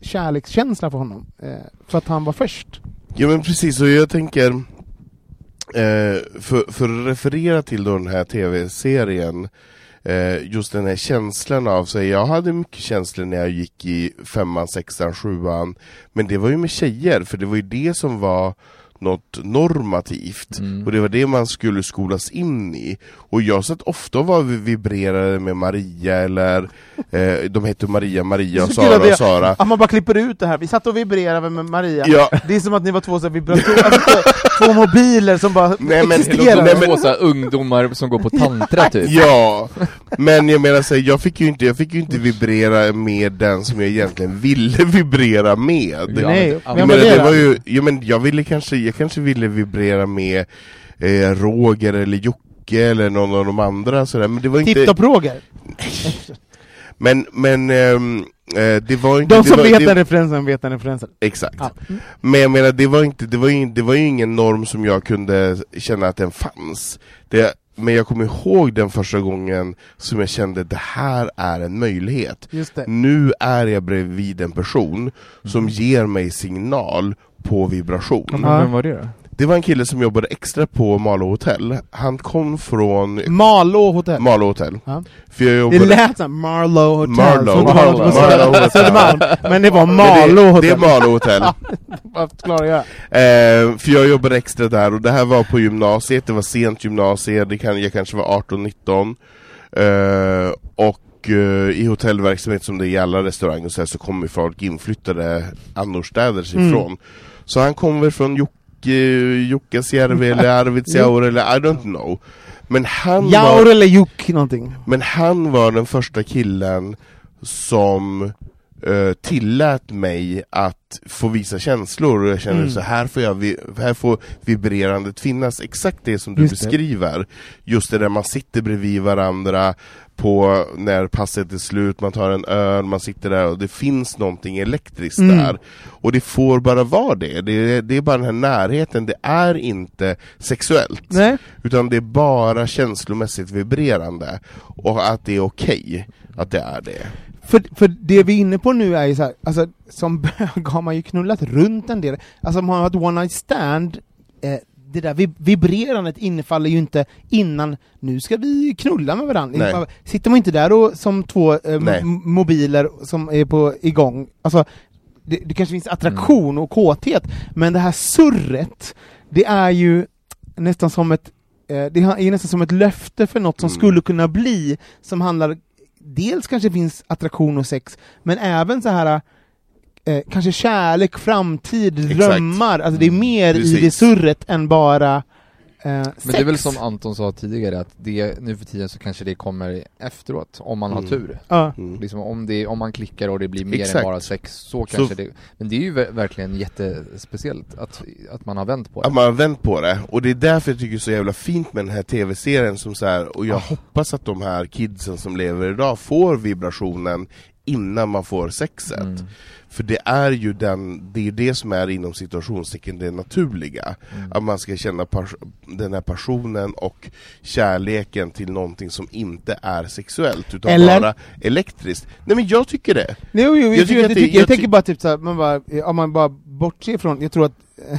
[SPEAKER 1] kärlekskänsla för honom. Eh, för att han var först.
[SPEAKER 2] Ja men precis, och jag tänker eh, för, för att referera till då den här tv-serien eh, just den här känslan av sig. Jag hade mycket känslor när jag gick i femman, sexan, sjuan. Men det var ju med tjejer, för det var ju det som var något normativt. Och det var det man skulle skolas in i. Och jag satt ofta och var vibrerade med Maria eller eh, De hette Maria, Maria och
[SPEAKER 1] Så kul att
[SPEAKER 2] Sara
[SPEAKER 1] det-
[SPEAKER 2] och Sara.
[SPEAKER 1] Att man bara klipper ut det här, vi satt och vibrerade med Maria
[SPEAKER 2] Ja.
[SPEAKER 1] Det är som att ni var två så här vibratorer, alltså, två mobiler som bara
[SPEAKER 2] Nej, men-
[SPEAKER 1] existerar
[SPEAKER 2] Nej, men-
[SPEAKER 3] Två så här ungdomar som går på tantra typ.
[SPEAKER 2] Ja, men jag menar så här, jag fick ju inte, jag fick ju inte vibrera med den som jag egentligen ville vibrera med.
[SPEAKER 3] Ja,
[SPEAKER 1] Nej,
[SPEAKER 3] men-
[SPEAKER 1] men
[SPEAKER 2] men det
[SPEAKER 1] det-
[SPEAKER 2] var ju, ja, men jag ville kanske, jag kanske ville vibrera med eh, Roger eller Jocke eller någon av de andra sådär, men det var inte...
[SPEAKER 1] Tipp-topp Roger!
[SPEAKER 2] Men, men ehm, eh, det var inte...
[SPEAKER 1] De
[SPEAKER 2] det
[SPEAKER 1] som
[SPEAKER 2] var,
[SPEAKER 1] vet
[SPEAKER 2] det,
[SPEAKER 1] den referensen vet den referensen
[SPEAKER 2] Exakt.
[SPEAKER 1] Ja.
[SPEAKER 2] Men jag menar, det var, inte, det, var ju, det var ju ingen norm som jag kunde känna att den fanns. Det, men jag kommer ihåg den första gången som jag kände det här är en möjlighet.
[SPEAKER 1] Just det. Mm.
[SPEAKER 2] Nu är jag bredvid en person som ger mig signal på vibration.
[SPEAKER 1] Ja.
[SPEAKER 3] Vem var det då?
[SPEAKER 2] Det var en kille som jobbade extra på Malå hotell. Han kom från
[SPEAKER 1] Malå hotell
[SPEAKER 2] Malå hotell.
[SPEAKER 1] Ja.
[SPEAKER 2] För jag
[SPEAKER 1] Mm. Det
[SPEAKER 2] jobbade...
[SPEAKER 1] lät som Marlow Hotel,
[SPEAKER 2] Marlow.
[SPEAKER 1] så det var något på
[SPEAKER 2] Marlow Hotel.
[SPEAKER 1] Södermalm, men det var
[SPEAKER 2] Men
[SPEAKER 1] Malå
[SPEAKER 2] det,
[SPEAKER 1] Hotel.
[SPEAKER 2] det är Malå hotell.
[SPEAKER 1] Vad klarar jag?
[SPEAKER 2] Eh, för jag jobbade extra där och det här var på gymnasiet, det var sent gymnasiet, det kan, jag kanske var 18-19 eh, Och eh, i hotellverksamhet som det är i alla restauranger och så, här, så kommer folk inflyttade annorstädes
[SPEAKER 1] Mm.
[SPEAKER 2] ifrån Så han kommer från Jocke, Jukkasjärvi eller Arvidsjaur eller I don't know Men han var
[SPEAKER 1] Jaur eller Juk någonting.
[SPEAKER 2] men han var den första killen som eh, tillät mig att få visa känslor och jag kände
[SPEAKER 1] Mm.
[SPEAKER 2] så här får, jag vi- här får vibrerandet finnas, exakt det som du
[SPEAKER 1] Just det.
[SPEAKER 2] beskriver Just det där man sitter bredvid varandra på när passet är slut, man tar en öl, man sitter där och det finns någonting elektriskt
[SPEAKER 1] Mm.
[SPEAKER 2] där Och det får bara vara det. det, det är bara den här närheten, det är inte sexuellt
[SPEAKER 1] Nej.
[SPEAKER 2] utan det är bara känslomässigt vibrerande och att det är okej att det är det.
[SPEAKER 1] För, för det vi är inne på nu är ju så här, alltså som bög har man ju knullat runt en del. Alltså om man har ett one night stand, eh, det där vib- vibrerandet infaller ju inte innan nu ska vi knulla med varandra.
[SPEAKER 2] Nej.
[SPEAKER 1] Man- Sitter man inte där och, som två eh, m-
[SPEAKER 2] Nej.
[SPEAKER 1] m- mobiler som är på igång, alltså det, det kanske finns attraktion
[SPEAKER 2] Mm.
[SPEAKER 1] och kåthet, men det här surret, det är ju nästan som ett eh, det är nästan som ett löfte för något som
[SPEAKER 2] Mm.
[SPEAKER 1] skulle kunna bli, som handlar dels kanske finns attraktion och sex, men även så här eh, kanske kärlek, framtid,
[SPEAKER 2] Exakt. Mm.
[SPEAKER 1] drömmar, alltså det är mer i
[SPEAKER 2] Precis.
[SPEAKER 1] det surret än bara eh, sex.
[SPEAKER 3] Men det är väl som Anton sa tidigare att det, nu för tiden så kanske det kommer efteråt, om man
[SPEAKER 2] Mm.
[SPEAKER 3] har tur.
[SPEAKER 1] Ja.
[SPEAKER 3] Liksom om, det, om man klickar och det blir mer
[SPEAKER 2] Exakt.
[SPEAKER 3] än bara sex så kanske
[SPEAKER 2] Så-
[SPEAKER 3] det... Men det är ju ver- verkligen jättespeciellt att, att man har vänt på det.
[SPEAKER 2] Att man har vänt på det, och det är därför jag tycker det är så jävla fint med den här tv-serien som så här, och jag hoppas att de här kidsen som lever idag får vibrationen innan man får sexet.
[SPEAKER 3] Mm.
[SPEAKER 2] För det är ju den, det, är ju det som är inom situationstecken det naturliga.
[SPEAKER 3] Mm.
[SPEAKER 2] Att man ska känna pas- den här passionen och kärleken till någonting som inte är sexuellt utan
[SPEAKER 1] Eller?
[SPEAKER 2] bara elektriskt. Nej men jag tycker det!
[SPEAKER 1] Jo, jo, jag,
[SPEAKER 2] Jag tycker
[SPEAKER 1] jag,
[SPEAKER 2] att det-
[SPEAKER 1] tycker, jag,
[SPEAKER 2] jag ty-
[SPEAKER 1] tänker bara typ såhär, man bara, eh, om man bara bortser från, jag tror att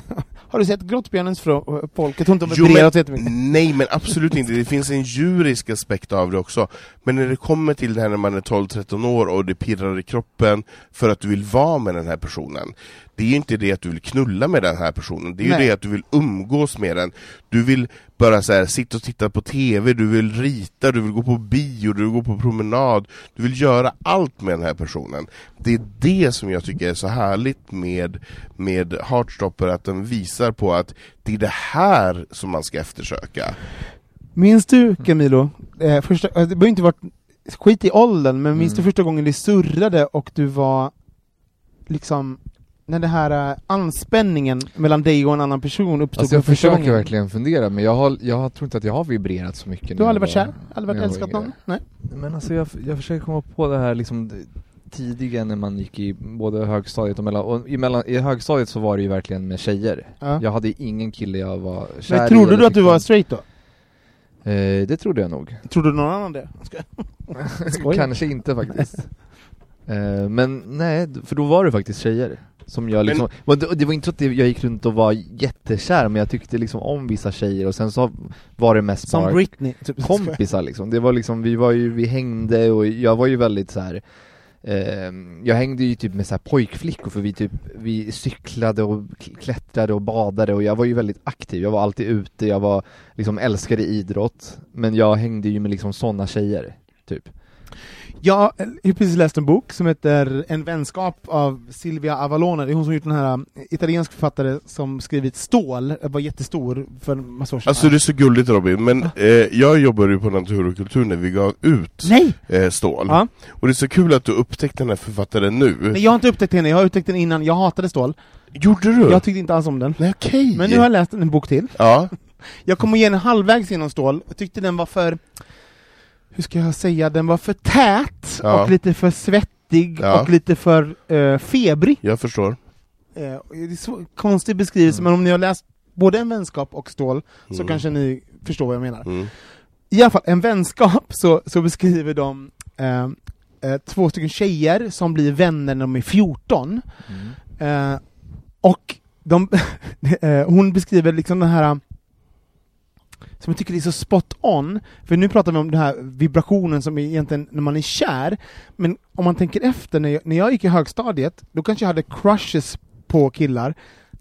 [SPEAKER 1] Har du sett Grottbjörnens frå- eh, folk? Jag tror inte de
[SPEAKER 2] Jo,
[SPEAKER 1] vibrerar så jättemycket
[SPEAKER 2] men, nej men absolut inte, det finns en jurisk aspekt av det också Men när det kommer till det här när man är 12-13 år och det pirrar i kroppen för att du vill vara med den här personen Det är ju inte det att du vill knulla med den här personen, det är ju
[SPEAKER 1] Nej.
[SPEAKER 2] det att du vill umgås med den Du vill bara så här, sitta och titta på TV, du vill rita, du vill gå på bio, du vill gå på promenad Du vill göra allt med den här personen Det är det som jag tycker är så härligt med, med Heartstopper, att den visar på att det är det här som man ska eftersöka.
[SPEAKER 1] Minns du Camilo, eh, första, alltså, det behöver inte varit skit i åldern, men minns
[SPEAKER 3] Mm.
[SPEAKER 1] du första gången det surrade och du var liksom när den här eh, anspänningen mellan dig och en annan person uppstod
[SPEAKER 3] Alltså jag
[SPEAKER 1] för första
[SPEAKER 3] försöker
[SPEAKER 1] gången?
[SPEAKER 3] verkligen fundera men jag, har, jag tror inte att jag har vibrerat så mycket
[SPEAKER 1] Du
[SPEAKER 3] när
[SPEAKER 1] har
[SPEAKER 3] jag
[SPEAKER 1] aldrig varit
[SPEAKER 3] var-
[SPEAKER 1] kär? Aldrig varit
[SPEAKER 3] när jag var
[SPEAKER 1] älskat
[SPEAKER 3] yngre.
[SPEAKER 1] någon? Nej?
[SPEAKER 3] Men alltså jag, jag försöker komma på det här liksom d- tidiga när man gick i både högstadiet och mellan, och i, mellan, i högstadiet så var det ju verkligen med tjejer.
[SPEAKER 1] Ja.
[SPEAKER 3] Jag hade ingen kille jag var kär
[SPEAKER 1] Men
[SPEAKER 3] i
[SPEAKER 1] trodde
[SPEAKER 3] eller
[SPEAKER 1] du att du
[SPEAKER 3] tyckte
[SPEAKER 1] var
[SPEAKER 3] om.
[SPEAKER 1] straight då?
[SPEAKER 3] Eh, det trodde jag nog.
[SPEAKER 1] Trodde någon annan det? Skoj.
[SPEAKER 3] Kanske inte faktiskt. Eh, men nej, d- för då var det faktiskt tjejer som jag liksom, men... det, det var inte så att det- jag gick runt och var jättekär men jag tyckte liksom om vissa tjejer och sen så var det mest
[SPEAKER 1] Som
[SPEAKER 3] bara
[SPEAKER 1] Britney. Typ.
[SPEAKER 3] kompisar liksom. Det var liksom, vi var ju, vi hängde och jag var ju väldigt så här. Eh, jag hängde ju typ med så här pojkflickor för vi typ, vi cyklade och k- klättrade och badade och jag var ju väldigt aktiv, jag var alltid ute, jag var liksom älskade idrott Men jag hängde ju med liksom sådana tjejer, typ
[SPEAKER 1] Jag har precis läst en bok som heter En vänskap av Silvia Avalone. Det är hon som gjort den här eh, italiensk författare som skrivit Stål, eh, var jättestor för en massa år sedan.
[SPEAKER 2] Alltså det är så gulligt Robin, men eh, jag jobbade ju på Natur och kultur när vi gav ut
[SPEAKER 1] Nej!
[SPEAKER 2] eh, Stål.
[SPEAKER 1] Ja.
[SPEAKER 2] Och det är så kul att du upptäckte den här författaren nu.
[SPEAKER 1] Nej, jag har inte upptäckt henne, jag har upptäckt den innan, jag hatade Stål.
[SPEAKER 2] Gjorde du?
[SPEAKER 1] Jag tyckte inte alls om den.
[SPEAKER 2] Nej okej.
[SPEAKER 1] Men nu har jag läst en bok till.
[SPEAKER 2] Ja.
[SPEAKER 1] Jag kom igen halvvägs genom Stål, jag tyckte den var för... Hur ska jag säga? Den var för tät,
[SPEAKER 2] Ja.
[SPEAKER 1] och lite för svettig,
[SPEAKER 2] Ja.
[SPEAKER 1] och lite för eh, febrig.
[SPEAKER 2] Jag förstår.
[SPEAKER 1] Eh, och det är så konstig beskrivelse, men om ni har läst både En vänskap och Stål, så
[SPEAKER 2] Mm.
[SPEAKER 1] kanske ni förstår vad jag menar.
[SPEAKER 2] Mm.
[SPEAKER 1] I alla fall, En vänskap så, så beskriver de eh, eh, två stycken tjejer som blir vänner när de är 14. Eh, och de, eh, hon beskriver liksom den här som jag tycker är så spot on, för nu pratar vi om den här vibrationen som är egentligen när man är kär, men om man tänker efter, när jag, när jag gick i högstadiet, då kanske jag hade crushes på killar,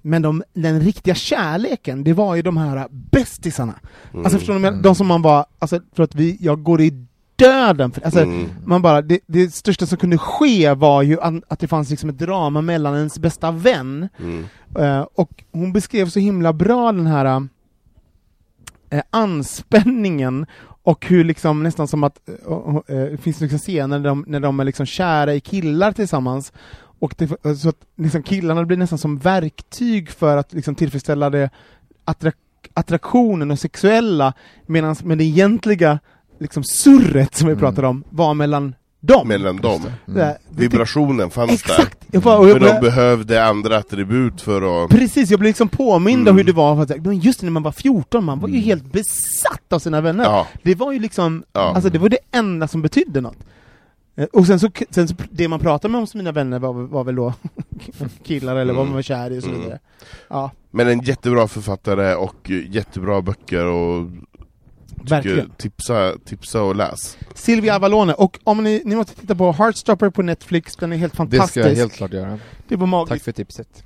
[SPEAKER 1] men de, den riktiga kärleken, det var ju de här bästisarna. Alltså förstår du, vad jag menar? de som man var, alltså för att vi, jag går i döden för alltså,
[SPEAKER 2] Mm.
[SPEAKER 1] man bara, det, det största som kunde ske var ju an, att det fanns liksom ett drama mellan ens bästa vän,
[SPEAKER 2] Mm.
[SPEAKER 1] Eh, och hon beskrev så himla bra den här eh, anspänningen och hur liksom nästan som att eh, och- och, eh, det finns liksom scener när de, när de är liksom kära i killar tillsammans och det, eh, så att liksom killarna blir nästan som verktyg för att liksom tillfredsställa det attrak attraktionen och sexuella medan men det egentliga liksom surret som vi
[SPEAKER 3] Mm.
[SPEAKER 1] pratade om var mellan dem.
[SPEAKER 2] Mellan dem.
[SPEAKER 1] Det här- det-
[SPEAKER 2] Vibrationen fanns där.
[SPEAKER 1] Exakt! Jag bara, och jag
[SPEAKER 2] Men
[SPEAKER 1] bara,
[SPEAKER 2] de behövde andra attribut för att...
[SPEAKER 1] Precis, jag blev liksom påmind om
[SPEAKER 2] Mm.
[SPEAKER 1] hur det var, för att, men just när man var 14, man var ju helt besatt av sina vänner.
[SPEAKER 2] Ja.
[SPEAKER 1] Det var ju liksom,
[SPEAKER 2] Ja.
[SPEAKER 1] alltså det var det enda som betydde något. Eh, Och sen så, sen så pr- det man pratade med om som mina vänner var, var väl då killar eller vad
[SPEAKER 2] Mm.
[SPEAKER 1] man var kär i och så
[SPEAKER 2] Mm.
[SPEAKER 1] vidare. Ja,
[SPEAKER 2] Men en jättebra författare och eh, jättebra böcker och
[SPEAKER 1] verkligen.
[SPEAKER 2] tipsa, tipsa och läs.
[SPEAKER 1] Silvia Avalone, och om ni, ni måste titta på Heartstopper på Netflix, den är helt
[SPEAKER 3] Det
[SPEAKER 1] fantastisk.
[SPEAKER 3] ska jag helt klart göra,
[SPEAKER 1] Det var
[SPEAKER 3] tack
[SPEAKER 1] magiskt.
[SPEAKER 3] för tipset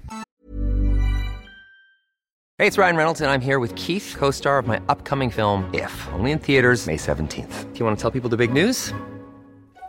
[SPEAKER 4] Hey, it's Ryan Reynolds, and I'm here with Keith, co star of my upcoming film, If, only in theaters, May 17th. Do you want to tell people the big news?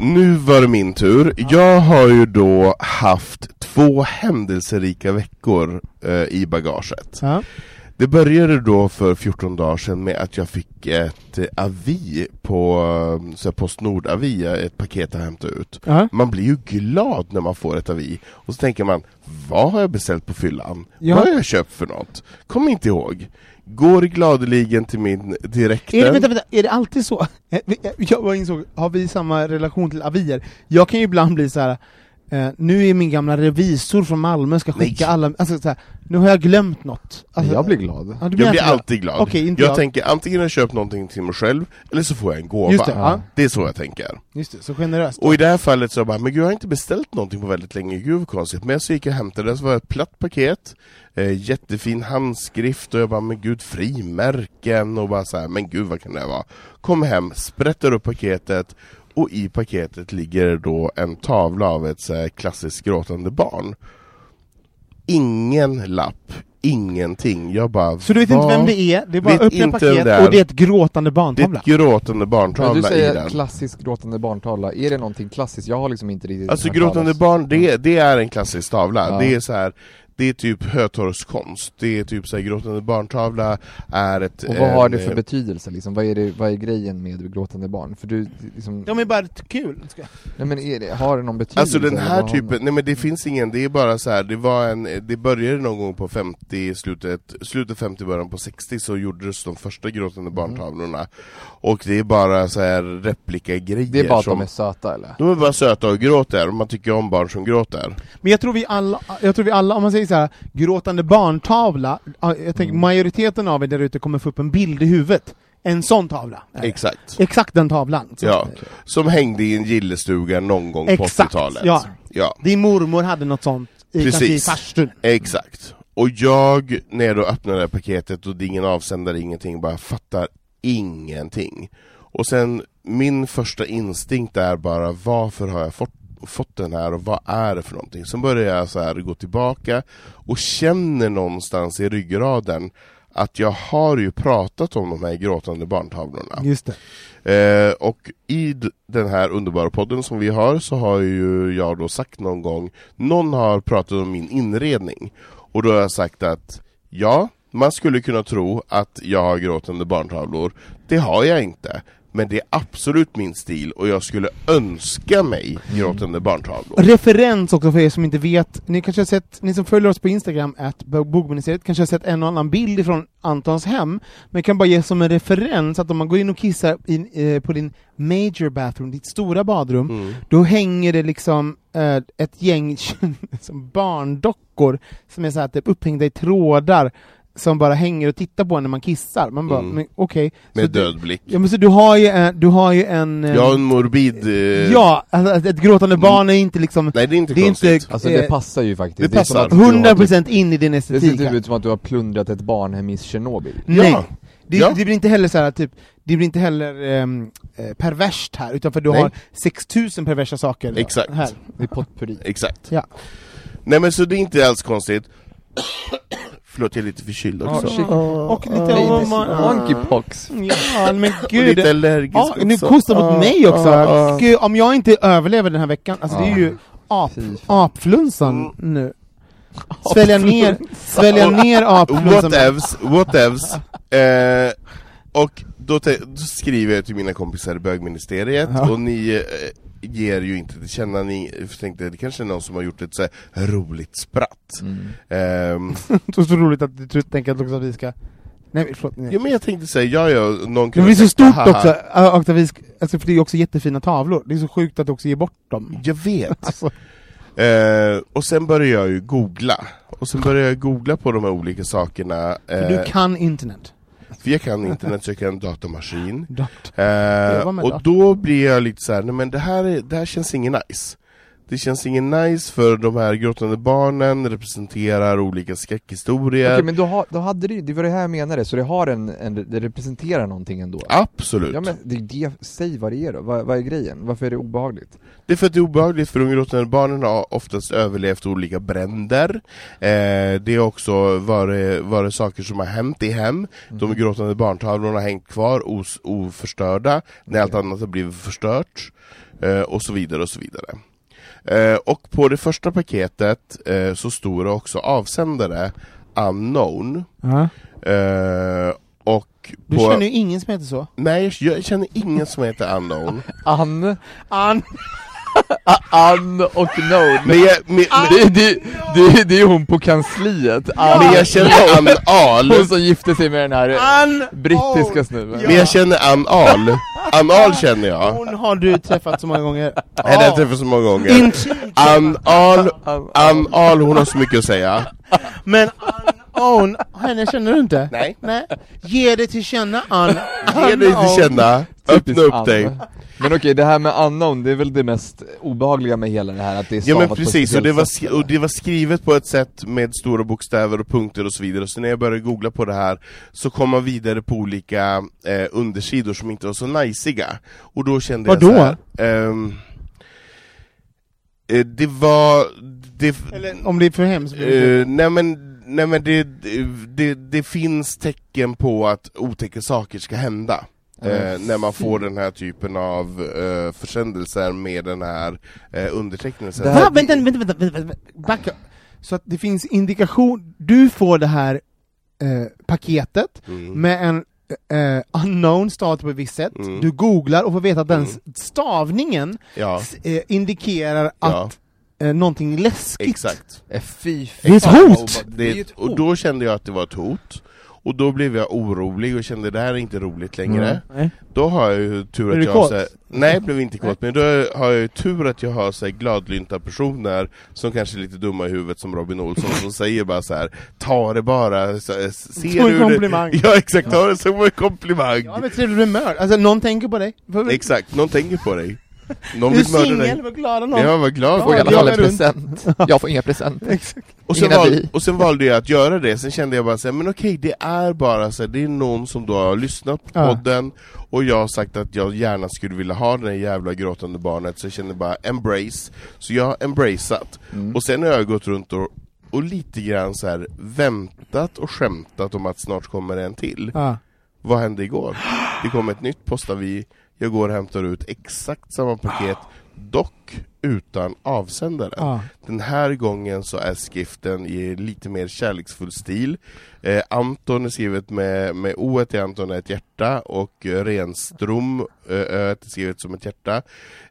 [SPEAKER 2] Nu var det min tur. Jag har ju då haft två händelserika veckor eh, i bagaget.
[SPEAKER 1] Ja.
[SPEAKER 2] Det började då för 14 dagar sedan med att jag fick ett eh, avi på eh, så här Postnord-avi, eh, ett paket att hämta ut.
[SPEAKER 1] Ja.
[SPEAKER 2] Man blir ju glad när man får ett avi, och så tänker man Vad har jag beställt på fyllan?
[SPEAKER 1] Ja.
[SPEAKER 2] Vad har jag köpt för något? Kommer inte ihåg. Går gladeligen till min direkten.
[SPEAKER 1] Är det, vänta, vänta, är det alltid så? Eh, Jag bara insåg, har vi samma relation till avier? Jag kan ju ibland bli så här. eh, nu är min gamla revisor från Malmö ska skicka
[SPEAKER 2] Nej.
[SPEAKER 1] alla, alltså så här, nu har jag glömt något. Alltså,
[SPEAKER 3] Jag blir glad.
[SPEAKER 1] Ja, du
[SPEAKER 2] Jag
[SPEAKER 1] alltid
[SPEAKER 2] blir
[SPEAKER 1] glad.
[SPEAKER 2] alltid glad.
[SPEAKER 1] Okej, inte
[SPEAKER 2] jag,
[SPEAKER 1] jag.
[SPEAKER 2] tänker antingen har jag köpt någonting till mig själv, eller så får jag en gåva.
[SPEAKER 1] Just det, ja.
[SPEAKER 2] det är så jag tänker.
[SPEAKER 1] Just det, så generöst.
[SPEAKER 2] Och i det här fallet så bara, men gud jag har inte beställt någonting på väldigt länge, gud vad konstigt. Men jag så gick jag och hämtade det, så var det ett platt paket, eh, jättefin handskrift och jag bara, men gud frimärken och bara så här, men gud vad kan det här vara? Kommer hem, sprättar upp paketet och i paketet ligger då en tavla av ett så här klassiskt gråtande barn. Ingen lapp, ingenting. Jag bara,
[SPEAKER 1] Så du vet
[SPEAKER 2] vad-
[SPEAKER 1] inte vem det är, det är bara
[SPEAKER 2] Vet
[SPEAKER 1] öppna
[SPEAKER 2] inte vem
[SPEAKER 1] paket
[SPEAKER 2] det är.
[SPEAKER 1] och det är ett gråtande
[SPEAKER 2] Det är
[SPEAKER 1] barntavla.
[SPEAKER 2] ett gråtande
[SPEAKER 3] Men du
[SPEAKER 2] barntavla i
[SPEAKER 3] säger
[SPEAKER 2] den.
[SPEAKER 3] klassisk gråtande barntavla, är det någonting klassiskt? Jag har liksom inte riktigt
[SPEAKER 2] Alltså
[SPEAKER 3] hört talas.
[SPEAKER 2] gråtande barn, det, det är en klassisk tavla.
[SPEAKER 3] Ja.
[SPEAKER 2] Det är så här, det är typ Hötorgs konst. Det är typ så här, gråtande barntavla är ett...
[SPEAKER 3] Och vad har det för
[SPEAKER 2] en- eh,
[SPEAKER 3] betydelse liksom? Vad är, det, vad är grejen med gråtande barn? För du liksom,
[SPEAKER 1] De är bara ett kul. Ska-
[SPEAKER 3] nej men är det, har det någon betydelse?
[SPEAKER 2] Alltså den
[SPEAKER 3] eller
[SPEAKER 2] här
[SPEAKER 3] liksom? vad har man-
[SPEAKER 2] typen, nej men det finns ingen, det är bara så här, det var en, det började någon gång på 50, slutet, slutet 50, början på 60 så gjordes de första
[SPEAKER 3] Mm.
[SPEAKER 2] gråtande barntavlorna Och det är bara så här replikagrejer
[SPEAKER 3] Det är bara att
[SPEAKER 2] som,
[SPEAKER 3] de är söta eller?
[SPEAKER 2] de är bara söta och gråter, och man tycker om barn som gråter
[SPEAKER 1] Men jag tror vi alla, jag tror vi alla om man säger så här, gråtande barntavla, ja, jag tänker
[SPEAKER 2] Mm.
[SPEAKER 1] majoriteten av er där ute kommer få upp en bild i huvudet. En sån tavla.
[SPEAKER 2] Exakt
[SPEAKER 1] Exakt den tavlan. Så-
[SPEAKER 2] Ja, som hängde i en gillestuga någon gång på
[SPEAKER 1] Exakt,
[SPEAKER 2] 80-talet.
[SPEAKER 1] ja.
[SPEAKER 2] ja.
[SPEAKER 1] Din mormor hade något sånt i, kanske i
[SPEAKER 2] Precis.
[SPEAKER 1] farstun.
[SPEAKER 2] Exakt. Och jag, när jag då öppnar det här paketet och det är ingen avsändare, ingenting, bara fattar ingenting. Och sen, min första instinkt är bara, varför har jag fått fått den här och vad är det för någonting? Sen börjar jag så här gå tillbaka och känner någonstans i ryggraden att jag har ju pratat om de här gråtande barntavlorna.
[SPEAKER 1] Just det.
[SPEAKER 2] Eh, och i d- den här underbara podden som vi har så har ju jag då sagt någon gång, någon har pratat om min inredning. Och då har jag sagt att ja, man skulle kunna tro att jag har gråtande barntavlor. Det har jag inte. Men det är absolut min stil och jag skulle önska mig gråtande barntavlor.
[SPEAKER 1] Referens också för er som inte vet, ni kanske har sett, ni som följer oss på Instagram, att bogministeriet, kanske har sett en och annan bild ifrån Antons hem, men jag kan bara ge som en referens att om man går in och kissar in, eh, på din major bathroom, ditt stora badrum,
[SPEAKER 2] Mm.
[SPEAKER 1] då hänger det liksom eh, ett gäng som barndockor som är så här, typ upphängda i trådar som bara hänger och tittar på en när man kissar. Man bara,
[SPEAKER 2] Mm.
[SPEAKER 1] men okej. Så
[SPEAKER 2] Med
[SPEAKER 1] du-
[SPEAKER 2] död blick.
[SPEAKER 1] Ja men så du har ju en... Du har ju en eh,
[SPEAKER 2] Jag har en morbid... eh, Mm.
[SPEAKER 1] Ja, alltså att ett gråtande barn är inte liksom
[SPEAKER 2] Nej det är inte
[SPEAKER 1] Det är inte-
[SPEAKER 2] konstigt.
[SPEAKER 3] Alltså det
[SPEAKER 1] Eh,
[SPEAKER 3] passar ju faktiskt.
[SPEAKER 2] det
[SPEAKER 3] är som
[SPEAKER 2] passar.
[SPEAKER 3] att du har typ-
[SPEAKER 1] 100% in i din
[SPEAKER 3] Det
[SPEAKER 1] estetik.
[SPEAKER 3] ser typ ut som att du har plundrat ett barnhem i Tjernobyl.
[SPEAKER 1] Nej.
[SPEAKER 2] Ja.
[SPEAKER 1] Det,
[SPEAKER 2] Ja.
[SPEAKER 1] det blir inte heller så här, typ, det blir inte heller ehm, eh, perverst här, utan för du
[SPEAKER 2] Nej.
[SPEAKER 1] har 6000 perversa saker
[SPEAKER 2] Exakt.
[SPEAKER 1] här.
[SPEAKER 3] Det är potpurri.
[SPEAKER 2] Exakt.
[SPEAKER 1] Ja.
[SPEAKER 2] Nej men så det är inte alls konstigt. Förlåt jag är lite förkyld också.
[SPEAKER 3] Ja, shit.
[SPEAKER 1] Och lite
[SPEAKER 3] Nej,
[SPEAKER 1] om...
[SPEAKER 3] det är Monkeypox.
[SPEAKER 1] Ja, men
[SPEAKER 2] Och
[SPEAKER 1] gud.
[SPEAKER 2] lite allergisk
[SPEAKER 1] Ja, nu
[SPEAKER 2] också.
[SPEAKER 1] kostar det mot
[SPEAKER 2] Ah,
[SPEAKER 1] mig också.
[SPEAKER 2] ah, ah.
[SPEAKER 1] Gud, om jag inte överlever den här veckan, alltså det är ju ap,
[SPEAKER 3] Fy fan.
[SPEAKER 1] apflunsan nu. Svälja ner, svälja ner apflunsan.
[SPEAKER 2] Whatevs, whatevs. Eh, och då, te- då skriver jag till mina kompisar i bögministeriet, och ni eh, ger ju inte till känna, ni jag tänkte det kanske är någon som har gjort ett så här roligt spratt. Ehm,
[SPEAKER 1] Så, så roligt att du tror- tänker att också att vi ska... Nej, men förlåt. Nej.
[SPEAKER 2] ja men jag tänkte säga, ja ja, någon
[SPEAKER 1] Det
[SPEAKER 2] kunde
[SPEAKER 1] blir så
[SPEAKER 2] sagt,
[SPEAKER 1] stort
[SPEAKER 2] "Haha."
[SPEAKER 1] också, äh, och att vi sk- alltså, för det är ju också jättefina tavlor, det är så sjukt att du också ger bort dem.
[SPEAKER 2] Jag vet.
[SPEAKER 1] Alltså.
[SPEAKER 2] Eh, och sen började jag ju googla, och sen började jag googla på de här olika sakerna,
[SPEAKER 1] För
[SPEAKER 2] eh,
[SPEAKER 1] du kan internet.
[SPEAKER 2] för jag kan internet, så jag kan datamaskin.
[SPEAKER 1] Dot.
[SPEAKER 2] Eh,
[SPEAKER 1] Leva med
[SPEAKER 2] och
[SPEAKER 1] det.
[SPEAKER 2] då blir jag lite så här, nej men det här, är, det här känns ingen nice. Det känns ingen nice för de här gråtande barnen representerar olika skräckhistorier.
[SPEAKER 3] Okej men då, har, då hade det ju, det var det här jag menade, så det har en, en det representerar någonting ändå?
[SPEAKER 2] Absolut.
[SPEAKER 3] Ja men det, är det, säg vad det är då, vad, vad är grejen? Varför är det obehagligt?
[SPEAKER 2] Det är för att det är obehagligt för de gråtande barnen har oftast överlevt olika bränder. Eh, det är också varit, varit saker som har hänt i hem.
[SPEAKER 1] Mm.
[SPEAKER 2] De gråtande barntavlorna har hängt kvar os, oförstörda när allt annat har blivit förstört. Eh, och så vidare och så vidare. Eh, och på det första paketet eh, så stod det också avsändare unknown.
[SPEAKER 1] Ja.
[SPEAKER 2] Eh, och
[SPEAKER 1] Du
[SPEAKER 2] på...
[SPEAKER 1] känner ju ingen som heter så.
[SPEAKER 2] Nej, jag känner ingen som heter unknown.
[SPEAKER 3] An,
[SPEAKER 1] An...
[SPEAKER 3] an och known.
[SPEAKER 2] Men jag, men,
[SPEAKER 1] Ah,
[SPEAKER 2] men,
[SPEAKER 3] Det, det, det, det är hon på kansliet, Ann.
[SPEAKER 2] men jag känner anal.
[SPEAKER 3] Hon som gifte sig med den här
[SPEAKER 1] An...
[SPEAKER 3] brittiska snubben
[SPEAKER 2] Men jag känner anal. Anal känner jag.
[SPEAKER 1] Hon har du träffat så många gånger.
[SPEAKER 2] Henne har jag träffat så många gånger.
[SPEAKER 1] Intuit.
[SPEAKER 2] Anal, anal, hon har så mycket att säga.
[SPEAKER 1] Men Unown, henne känner du inte?
[SPEAKER 2] Nej.
[SPEAKER 1] Nej. Ge det till känna Un...
[SPEAKER 2] Ge dig
[SPEAKER 1] unknown.
[SPEAKER 2] till känna, öppna
[SPEAKER 3] Typiskt
[SPEAKER 2] upp
[SPEAKER 3] Ann.
[SPEAKER 2] dig.
[SPEAKER 3] Men okej, det här med unknown, det är väl det mest obehagliga med hela det här att det är
[SPEAKER 2] Ja men
[SPEAKER 3] stavat på ett
[SPEAKER 2] precis, och
[SPEAKER 3] speciellt
[SPEAKER 2] det, var,
[SPEAKER 3] sätt.
[SPEAKER 2] sk- och det var skrivet på ett sätt med stora bokstäver och punkter och så vidare, så när jag började googla på det här så kom man vidare på olika eh, undersidor som inte var så najsiga, och då kände
[SPEAKER 1] Vadå?
[SPEAKER 2] jag så här, ehm, eh, Det var... Det,
[SPEAKER 1] Eller om det är för hemskt. blir det
[SPEAKER 3] Mm.
[SPEAKER 2] Eh, nej men, nej, men det, det, det finns tecken på att otäcka saker ska hända. Eh, när man får den här typen av eh, försändelser med den här eh, undertecknelsen.
[SPEAKER 3] Det här-
[SPEAKER 1] Va? Vänta, vänta, vänta, vänta, vänta. Backa. Så att det finns indikation, du får det här eh, paketet
[SPEAKER 2] Mm.
[SPEAKER 1] med en eh, unknown stav på ett visst sätt, du googlar och får veta att den s- stavningen
[SPEAKER 2] Mm. Ja,
[SPEAKER 1] s- eh, indikerar
[SPEAKER 2] ja,
[SPEAKER 1] att eh, någonting läskigt...
[SPEAKER 2] exakt. Oh
[SPEAKER 3] Eh, Fy fan.
[SPEAKER 1] Det är ett hot!
[SPEAKER 3] vad-
[SPEAKER 2] Det,
[SPEAKER 3] ju ett
[SPEAKER 2] och
[SPEAKER 3] hot.
[SPEAKER 2] då kände jag att det var ett hot. Och då blev jag orolig och kände det här är inte roligt längre.
[SPEAKER 1] Mm. Nej.
[SPEAKER 2] Då har jag ju tur
[SPEAKER 1] Blev
[SPEAKER 2] att
[SPEAKER 1] du
[SPEAKER 2] jag har
[SPEAKER 1] kåt?
[SPEAKER 2] så här, Nej, jag blev inte kåt, men då har jag ju tur att jag har så här gladlynta personer som kanske är lite dumma i huvudet som Robin Olsson som säger bara så här: ta det bara, så, eh, ser
[SPEAKER 1] Som en
[SPEAKER 2] du det?"
[SPEAKER 1] komplimang.
[SPEAKER 2] Ja exakt, ta det som en komplimang!
[SPEAKER 1] Jag har ett trevligt humör, alltså någon tänker på dig. Får-
[SPEAKER 2] exakt, någon tänker på dig. Någon
[SPEAKER 1] Du är
[SPEAKER 2] vill mörda
[SPEAKER 1] singel,
[SPEAKER 2] dig.
[SPEAKER 1] vad glad någon.
[SPEAKER 2] Ja, vad glad
[SPEAKER 3] Jag får i
[SPEAKER 2] för
[SPEAKER 3] alla
[SPEAKER 1] Ja,
[SPEAKER 2] det.
[SPEAKER 3] fall en
[SPEAKER 1] jag runt.
[SPEAKER 3] present. Jag får inga presenter.
[SPEAKER 2] Och sen,
[SPEAKER 3] Ingen
[SPEAKER 2] val,
[SPEAKER 3] avi.
[SPEAKER 2] och sen valde jag att göra det, sen kände jag bara såhär, men okej det är bara så här, det är någon som då har lyssnat på
[SPEAKER 1] Ja.
[SPEAKER 2] podden och jag har sagt att jag gärna skulle vilja ha det där jävla gråtande barnet, så jag kände bara embrace, så jag har embraceat.
[SPEAKER 1] Mm.
[SPEAKER 2] Och sen har jag gått runt och, och lite grann så här väntat och skämtat om att snart kommer en till.
[SPEAKER 1] Ja.
[SPEAKER 2] Vad hände igår? Det kom ett nytt postavi, jag går och hämtar ut exakt samma paket, dock utan avsändaren.
[SPEAKER 1] Ja.
[SPEAKER 2] Den här gången så är skriften i lite mer kärleksfull stil. Eh, Anton är skrivet med, med O i Anton är ett hjärta och eh, Renström eh, Ö är skrivet som ett hjärta.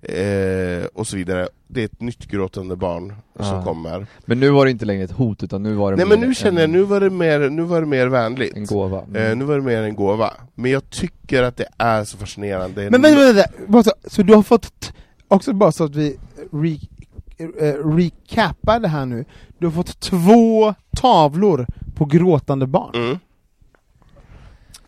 [SPEAKER 2] Eh, och så vidare. Det är ett nytt gråtande barn som
[SPEAKER 3] Ah.
[SPEAKER 2] kommer.
[SPEAKER 3] Men nu var det inte längre ett hot, utan nu var det
[SPEAKER 2] Nej
[SPEAKER 3] mer
[SPEAKER 2] men nu känner jag,
[SPEAKER 3] en,
[SPEAKER 2] nu var det mer, nu var det mer vänligt.
[SPEAKER 3] en gåva.
[SPEAKER 2] Eh,
[SPEAKER 1] Mm.
[SPEAKER 2] nu var det mer en gåva. Men jag tycker att det är så fascinerande.
[SPEAKER 1] Men vänta, vänta, vänta. Bara så, så du har fått, t- också bara så att vi re, eh, recapar det här nu, du har fått två tavlor på gråtande barn.
[SPEAKER 2] Mm.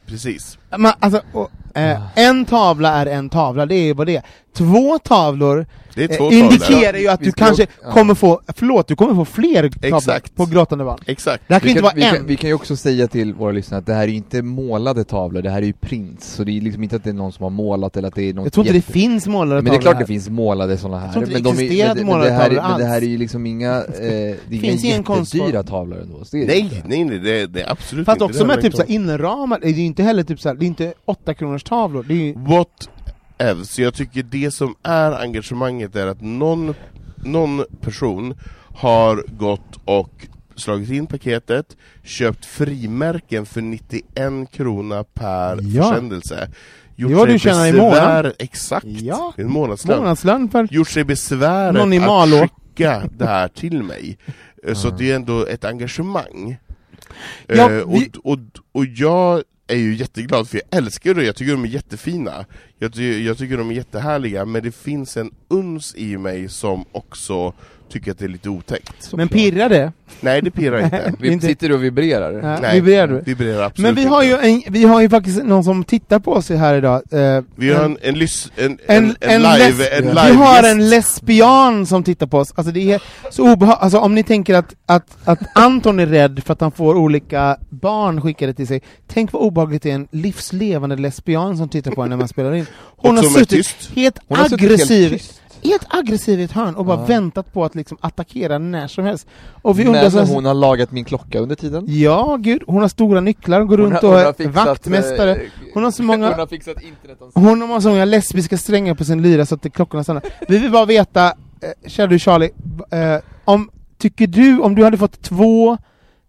[SPEAKER 2] Precis.
[SPEAKER 1] Men, alltså, och, eh,
[SPEAKER 3] Ah.
[SPEAKER 1] en tavla är en tavla, det är vad det är. Två tavlor
[SPEAKER 2] Det är
[SPEAKER 1] eh,
[SPEAKER 2] två tavlor.
[SPEAKER 1] indikerar ju att
[SPEAKER 3] Vi
[SPEAKER 1] du
[SPEAKER 3] ska
[SPEAKER 1] kanske
[SPEAKER 3] åka- ja.
[SPEAKER 1] kommer få, förlåt, du kommer få fler tavlor
[SPEAKER 2] Exakt.
[SPEAKER 1] på gråtande barn.
[SPEAKER 2] Exakt.
[SPEAKER 1] Det här kan
[SPEAKER 3] Vi
[SPEAKER 1] ju inte
[SPEAKER 3] kan,
[SPEAKER 1] vara
[SPEAKER 3] vi,
[SPEAKER 1] en.
[SPEAKER 3] kan, vi kan ju också säga till våra lyssnare att det här är ju inte målade tavlor, det här är ju prints, så det är liksom inte att det är någon som har målat eller att det är något
[SPEAKER 1] jag tror inte
[SPEAKER 3] jätte-
[SPEAKER 1] det finns målade
[SPEAKER 3] Men det är
[SPEAKER 1] tavlor
[SPEAKER 3] klart
[SPEAKER 1] här.
[SPEAKER 3] det finns målade sådana
[SPEAKER 1] Jag
[SPEAKER 3] här,
[SPEAKER 1] tror inte
[SPEAKER 3] men,
[SPEAKER 1] det
[SPEAKER 3] de är,
[SPEAKER 1] existerar
[SPEAKER 3] men, det- men,
[SPEAKER 1] målade
[SPEAKER 3] det här, är-
[SPEAKER 1] tavlor
[SPEAKER 3] men det här
[SPEAKER 1] alls.
[SPEAKER 3] är ju liksom inga, eh, det är
[SPEAKER 1] Finns
[SPEAKER 3] inga
[SPEAKER 1] ingen konstform.
[SPEAKER 3] jättedyra tavlor ändå så det är det
[SPEAKER 2] Nej,
[SPEAKER 3] inte.
[SPEAKER 2] nej, nej, det, det är absolut
[SPEAKER 1] Fast
[SPEAKER 2] inte
[SPEAKER 1] också
[SPEAKER 2] Det
[SPEAKER 1] med
[SPEAKER 2] här
[SPEAKER 1] typ
[SPEAKER 2] var
[SPEAKER 1] såhär inramade, det är ju inte heller typ såhär, det är inte 8 kronors tavlor, det är ju
[SPEAKER 2] What else? Jag tycker det som är engagemanget är att någon, någon person har gått och slagit in paketet, köpt frimärken för 91 krona per
[SPEAKER 1] Ja.
[SPEAKER 2] försändelse. Gjort
[SPEAKER 1] Det är vad
[SPEAKER 2] sig
[SPEAKER 1] du tjänar i
[SPEAKER 2] besvär-
[SPEAKER 1] månaden.
[SPEAKER 2] Exakt,
[SPEAKER 1] Ja.
[SPEAKER 2] en månadslön.
[SPEAKER 1] månadslön för...
[SPEAKER 2] Gjort sig besväret
[SPEAKER 1] Någon i
[SPEAKER 2] att
[SPEAKER 1] Malå.
[SPEAKER 2] skicka det här till mig. Eh, Så att det är ändå ett engagemang.
[SPEAKER 1] Ja,
[SPEAKER 2] Eh,
[SPEAKER 1] vi-
[SPEAKER 2] och, och, och jag är ju jätteglad för jag älskar det, jag tycker de är jättefina jag, ty jag tycker de är jättehärliga, men det finns en uns i mig som också tycker att det är lite otäckt
[SPEAKER 1] Men pirrar det?
[SPEAKER 2] Nej det pirrar inte
[SPEAKER 3] Vi
[SPEAKER 1] Inte-
[SPEAKER 3] sitter och vibrerar.
[SPEAKER 1] Ja,
[SPEAKER 2] Nej,
[SPEAKER 1] vibrerar du?
[SPEAKER 2] Vibrerar absolut
[SPEAKER 1] Men vi har,
[SPEAKER 2] inte.
[SPEAKER 1] ju en, vi har ju faktiskt någon som tittar på oss här idag. eh,
[SPEAKER 2] Vi har en, en, lys, en, en,
[SPEAKER 1] en,
[SPEAKER 2] en, live,
[SPEAKER 1] les-
[SPEAKER 2] en
[SPEAKER 1] vi
[SPEAKER 2] live
[SPEAKER 1] har
[SPEAKER 2] gäst.
[SPEAKER 1] en lesbian som tittar på oss. Alltså det är så obehagligt. Alltså om ni tänker att, att, att Anton är rädd för att han får olika barn skickade till sig. Tänk vad obehagligt det är en livslevande lesbian som tittar på en när man spelar in. Hon har
[SPEAKER 2] Och som är
[SPEAKER 1] suttit
[SPEAKER 2] tyst.
[SPEAKER 1] helt
[SPEAKER 3] Hon har suttit
[SPEAKER 1] aggressiv.
[SPEAKER 3] helt tyst.
[SPEAKER 1] Helt aggressiv i ett hörn och bara väntat på att liksom attackera när som helst. Och vi undrar
[SPEAKER 3] Men
[SPEAKER 1] så
[SPEAKER 3] hon har lagat min klocka under tiden.
[SPEAKER 1] Ja, gud. Hon har stora nycklar, går runt och är
[SPEAKER 3] eh,
[SPEAKER 1] vaktmästare. Hon har så många-
[SPEAKER 3] Hon har fixat internet.
[SPEAKER 1] Hon har så många lesbiska strängar på sin lyra så att klockorna stannar. Vi vill bara veta, eh, kära du Charlie, eh, om, tycker du, om du hade fått två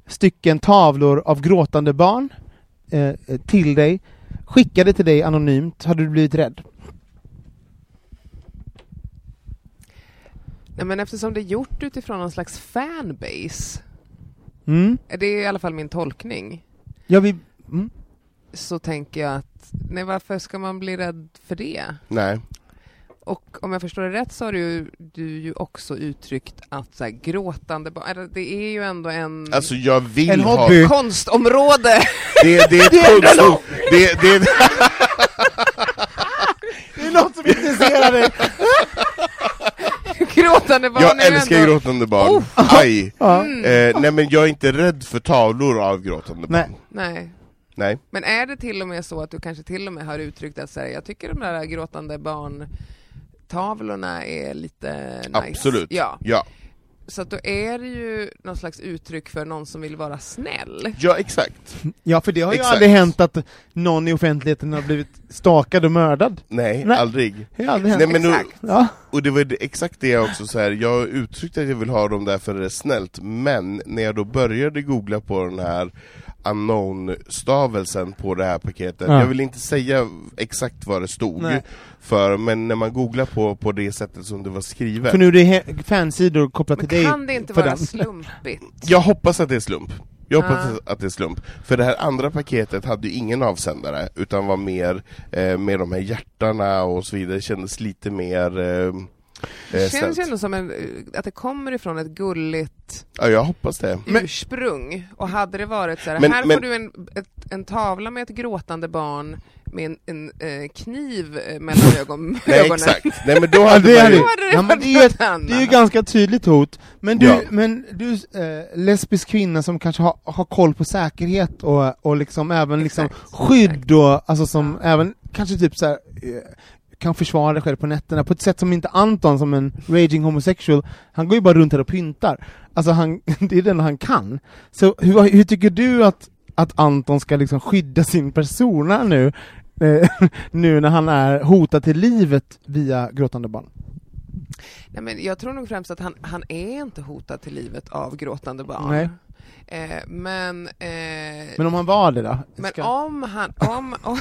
[SPEAKER 1] stycken tavlor av gråtande barn eh, till dig, skickade till dig anonymt, hade du blivit rädd?
[SPEAKER 5] Nej, men eftersom det är gjort utifrån någon slags fanbase,
[SPEAKER 1] Mm.
[SPEAKER 5] det är i alla fall min tolkning,
[SPEAKER 1] Jag vill... Mm.
[SPEAKER 5] så tänker jag att nej, varför ska man bli rädd för det?
[SPEAKER 2] Nej.
[SPEAKER 5] Och om jag förstår det rätt så har du, du ju också uttryckt att så här, gråtande barn, eller det är ju ändå en
[SPEAKER 2] Alltså jag vill
[SPEAKER 1] En
[SPEAKER 2] ha...
[SPEAKER 1] hobby.
[SPEAKER 5] konstområde!
[SPEAKER 2] Det, det är ett kunskap... Det, det,
[SPEAKER 1] Det är något som intresserar dig!
[SPEAKER 5] gråtande barn
[SPEAKER 2] jag
[SPEAKER 5] är ju
[SPEAKER 2] älskar
[SPEAKER 5] ändå... Oh!
[SPEAKER 2] gråtande barn. Aj!
[SPEAKER 1] Ja.
[SPEAKER 2] Eh, nej men jag är inte rädd för tavlor av gråtande
[SPEAKER 1] Nej.
[SPEAKER 2] barn.
[SPEAKER 5] Nej.
[SPEAKER 2] Nej.
[SPEAKER 5] Men är det till och med så att du kanske till och med har uttryckt att så här, jag tycker de där gråtande barntavlorna är lite nice?
[SPEAKER 2] Absolut.
[SPEAKER 5] Ja.
[SPEAKER 2] ja.
[SPEAKER 5] Så att då är det ju någon slags uttryck för någon som vill vara snäll.
[SPEAKER 2] Ja, exakt.
[SPEAKER 1] Ja, för det har ju
[SPEAKER 2] Exakt.
[SPEAKER 1] aldrig hänt att någon i offentligheten har blivit stakad och mördad.
[SPEAKER 2] Nej,
[SPEAKER 1] Nej.
[SPEAKER 2] aldrig.
[SPEAKER 1] Det har aldrig hänt.
[SPEAKER 2] Nej, men nu,
[SPEAKER 1] Ja.
[SPEAKER 2] och det var det- exakt det jag också så här. jag uttryckte att jag vill ha dem där för det är snällt, men när jag då började googla på den här unknown-stavelsen på det här paketet,
[SPEAKER 1] Ja.
[SPEAKER 2] jag vill inte säga exakt vad det stod,
[SPEAKER 1] Nej.
[SPEAKER 2] för, men när man googlar på, på det sättet som det var skrivet
[SPEAKER 1] För nu är det he- fansidor kopplat
[SPEAKER 5] Men
[SPEAKER 1] till dig.
[SPEAKER 5] kan det inte
[SPEAKER 1] för
[SPEAKER 5] vara
[SPEAKER 1] den.
[SPEAKER 5] slumpigt?
[SPEAKER 2] Jag hoppas att det är slump. Jag hoppas
[SPEAKER 5] Ah.
[SPEAKER 2] att det är slump. För det här andra paketet hade ju ingen avsändare, utan var mer eh, med de här hjärtarna och så vidare, kändes lite mer... Eh, eh,
[SPEAKER 5] Det känns
[SPEAKER 2] snällt.
[SPEAKER 5] ju ändå som en, eh, att det kommer ifrån ett gulligt
[SPEAKER 2] Ja, jag hoppas det.
[SPEAKER 5] ursprung. Och hade det varit så här,
[SPEAKER 2] Men-
[SPEAKER 5] här
[SPEAKER 2] men-
[SPEAKER 5] får du en, ett, en tavla med ett gråtande barn med en, en eh, kniv eh, mellan ögon,
[SPEAKER 2] Nej
[SPEAKER 5] ögonen.
[SPEAKER 2] exakt, nej men då
[SPEAKER 1] Ja,
[SPEAKER 2] hade
[SPEAKER 1] det, är
[SPEAKER 2] man
[SPEAKER 1] det.
[SPEAKER 2] ju...
[SPEAKER 5] Då hade det
[SPEAKER 1] Ja, men
[SPEAKER 5] varit
[SPEAKER 1] det är ju ett,
[SPEAKER 5] något annat.
[SPEAKER 1] det är ju ganska tydligt hot. Men du,
[SPEAKER 2] Ja.
[SPEAKER 1] men du eh, lesbisk kvinna som kanske har, har koll på säkerhet och, och liksom även liksom
[SPEAKER 5] Exakt.
[SPEAKER 1] skydd och alltså som även kanske typ så här, eh, kan försvara dig själv på nätterna på ett sätt som inte Anton som en raging homosexual, han går ju bara runt här och pyntar. Alltså han, det är det enda han kan. Så hur, hur tycker du att, att Anton ska liksom skydda sin persona nu? eh, nu när han är hotad till livet via gråtande barn?
[SPEAKER 5] Nej, men jag tror nog främst att han, han är inte hotad till livet av gråtande barn.
[SPEAKER 1] Nej.
[SPEAKER 5] Eh, men, eh,
[SPEAKER 1] Men
[SPEAKER 5] men,
[SPEAKER 1] om han var det då? Ska-
[SPEAKER 5] om han, om, om,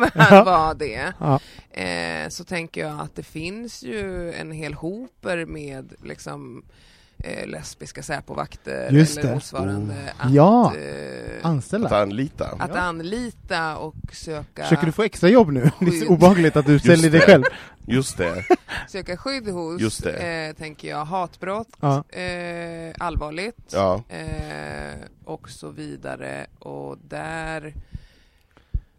[SPEAKER 5] om han var det
[SPEAKER 1] Ja.
[SPEAKER 5] eh, så tänker jag att det finns ju en hel hoper med liksom eh, lesbiska säpovakter
[SPEAKER 1] Just
[SPEAKER 5] eller
[SPEAKER 1] det.
[SPEAKER 5] motsvarande att,
[SPEAKER 1] Ja.
[SPEAKER 5] eh,
[SPEAKER 2] Att
[SPEAKER 1] Anställa?
[SPEAKER 2] anlita.
[SPEAKER 5] att anlita och söka,
[SPEAKER 1] Försöker du få extra jobb nu? Det är så
[SPEAKER 5] Skydd.
[SPEAKER 1] obehagligt att du säljer dig
[SPEAKER 2] det.
[SPEAKER 1] själv.
[SPEAKER 2] Just det.
[SPEAKER 5] söka skydd
[SPEAKER 2] Just
[SPEAKER 5] hos,
[SPEAKER 2] det.
[SPEAKER 5] eh, tänker jag, hatbrott,
[SPEAKER 1] Ja.
[SPEAKER 5] eh, allvarligt,
[SPEAKER 2] Ja.
[SPEAKER 5] eh, och så vidare och där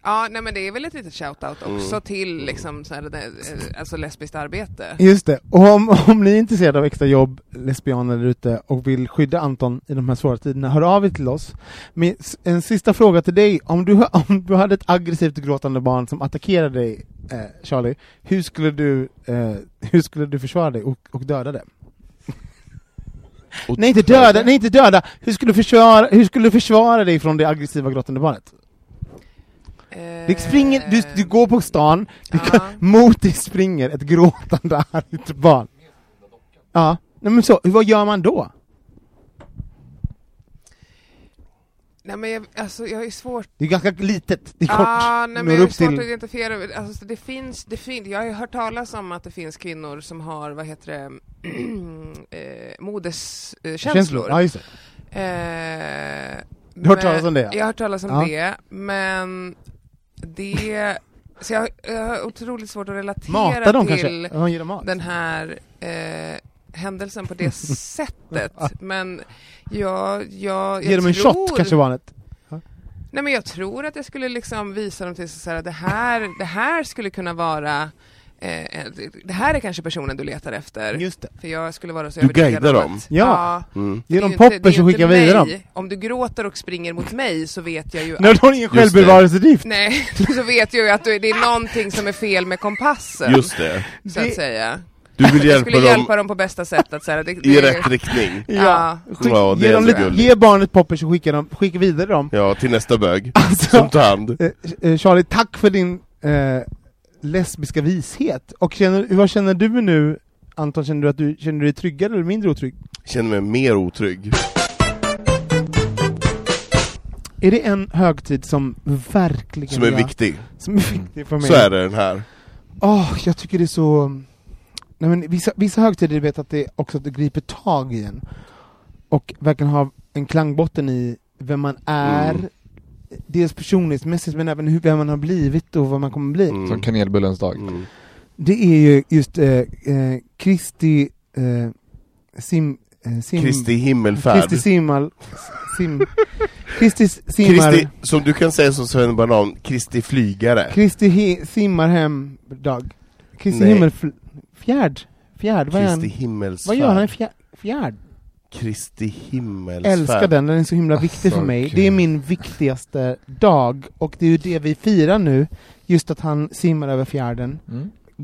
[SPEAKER 5] Ja, nej men det är väl ett litet shout-out också
[SPEAKER 2] Mm.
[SPEAKER 5] till liksom så här, det- eh, alltså lesbiskt arbete.
[SPEAKER 1] Just det. Och om, om ni är intresserade av extra jobb, lesbianer där ute, och vill skydda Anton i de här svåra tiderna, hör av er till oss. Men s- en sista fråga till dig. Om du, om du hade ett aggressivt gråtande barn som attackerade dig, eh, Charlie, hur skulle du, eh, hur skulle du försvara dig och, och döda det?
[SPEAKER 2] Och-
[SPEAKER 1] Nej inte döda, nej inte döda! Hur skulle du försvara, hur skulle du försvara dig från det aggressiva gråtande barnet? Det springer, du, du går på stan, du,
[SPEAKER 5] Ja.
[SPEAKER 1] mot dig springer ett gråtande argt barn. Ja, nej men så, vad gör man då?
[SPEAKER 5] Nej men jag, alltså jag är svårt...
[SPEAKER 1] Det är ganska litet, det är kort.
[SPEAKER 5] Ah, nej, men
[SPEAKER 1] Når
[SPEAKER 5] jag är
[SPEAKER 1] upp
[SPEAKER 5] svårt
[SPEAKER 1] till...
[SPEAKER 5] att identifiera. Alltså det finns, det finns, jag har ju hört talas om att det finns kvinnor som har, vad heter det, eh, modeskänslor. Eh, känslor.
[SPEAKER 1] Ja, just det.
[SPEAKER 5] Eh,
[SPEAKER 1] Du har hört talas om det?
[SPEAKER 5] Jag har hört talas om
[SPEAKER 1] Ja.
[SPEAKER 5] det, men det... Så jag, jag har otroligt svårt att relatera
[SPEAKER 1] Mata dem
[SPEAKER 5] till
[SPEAKER 1] kanske? Ja, ge dem mat.
[SPEAKER 5] den här eh, händelsen på det sättet. Men jag, jag, jag
[SPEAKER 1] Ge dem en
[SPEAKER 5] tror...
[SPEAKER 1] shot kanske barnet?
[SPEAKER 5] Nej men jag tror att jag skulle liksom visa dem till så här, det här, det här skulle kunna vara eh, eh, det här är kanske personen du letar efter.
[SPEAKER 1] Just det.
[SPEAKER 5] För jag skulle vara så
[SPEAKER 2] Du
[SPEAKER 5] övertygad
[SPEAKER 2] guidar
[SPEAKER 5] om
[SPEAKER 2] dem?
[SPEAKER 5] att-
[SPEAKER 1] Ja.
[SPEAKER 5] ja
[SPEAKER 2] Mm.
[SPEAKER 1] Ge
[SPEAKER 5] det är
[SPEAKER 1] dem
[SPEAKER 5] ju inte-
[SPEAKER 1] poppers
[SPEAKER 5] det är
[SPEAKER 1] och
[SPEAKER 5] ju inte
[SPEAKER 1] skicka vidare dem?
[SPEAKER 5] mig. Om du gråter och springer mot mig så vet jag ju
[SPEAKER 1] Nej,
[SPEAKER 5] att,
[SPEAKER 1] de har ingen
[SPEAKER 2] Just det.
[SPEAKER 1] självbevarelsedrift!
[SPEAKER 5] nej, så vet jag ju att du- det är någonting som är fel med kompassen,
[SPEAKER 2] Just det.
[SPEAKER 5] så att
[SPEAKER 1] det-
[SPEAKER 5] säga.
[SPEAKER 2] Du vill
[SPEAKER 5] Jag
[SPEAKER 2] hjälpa
[SPEAKER 5] skulle
[SPEAKER 2] dem
[SPEAKER 5] hjälpa dem på bästa sätt att så här, det, det,
[SPEAKER 2] i rätt Mm. riktning.
[SPEAKER 5] Ja.
[SPEAKER 2] Ja, det
[SPEAKER 1] ge,
[SPEAKER 2] är
[SPEAKER 1] dem
[SPEAKER 2] ändå
[SPEAKER 1] lite,
[SPEAKER 2] gulligt.
[SPEAKER 1] ge barnet poppers och skicka, dem, skicka vidare dem.
[SPEAKER 2] Ja, till nästa bög.
[SPEAKER 1] Alltså-
[SPEAKER 2] Som tar hand.
[SPEAKER 1] Eh, eh, Charlie, tack för din eh, lesbiska vishet. Och känner, vad känner du nu, Anton? Känner du, att du, känner du dig tryggare eller mindre otrygg?
[SPEAKER 2] Känner mig mer otrygg.
[SPEAKER 1] Är det en högtid som verkligen
[SPEAKER 2] Som är
[SPEAKER 1] jag-
[SPEAKER 2] viktig.
[SPEAKER 1] Som är viktig för mig?
[SPEAKER 2] Så är det den här.
[SPEAKER 1] Åh, jag tycker det är så... Nej, men vissa, vissa högtider vet att det också att det griper tag i en. Och verkligen ha en klangbotten i vem man är,
[SPEAKER 3] Mm.
[SPEAKER 1] dels personlighetsmässigt men även hur, vem man har blivit och vad man kommer bli.
[SPEAKER 2] Mm.
[SPEAKER 3] Som kanelbullens dag.
[SPEAKER 1] Det är ju just eh, eh, Kristi eh, sim, eh, sim...
[SPEAKER 2] Kristi himmelfärd.
[SPEAKER 1] Kristi simmal... Sim, Kristi s- simmar...
[SPEAKER 2] Kristi, som du kan säga som Sven Banan, Kristi flygare.
[SPEAKER 1] Kristi he, simmarhem-dag. Kristi
[SPEAKER 2] Nej.
[SPEAKER 1] himmel... Fjärd? Fjärd? Vad är han?
[SPEAKER 2] Kristi himmelsfärd.
[SPEAKER 1] Vad gör han i fjär, fjärd?
[SPEAKER 2] Kristi himmelsfärd.
[SPEAKER 1] Älskar den, den är så himla viktig
[SPEAKER 2] Alltså,
[SPEAKER 1] för mig.
[SPEAKER 2] gud.
[SPEAKER 1] Det är min viktigaste dag, och det är ju det vi firar nu. Just att han simmar över fjärden.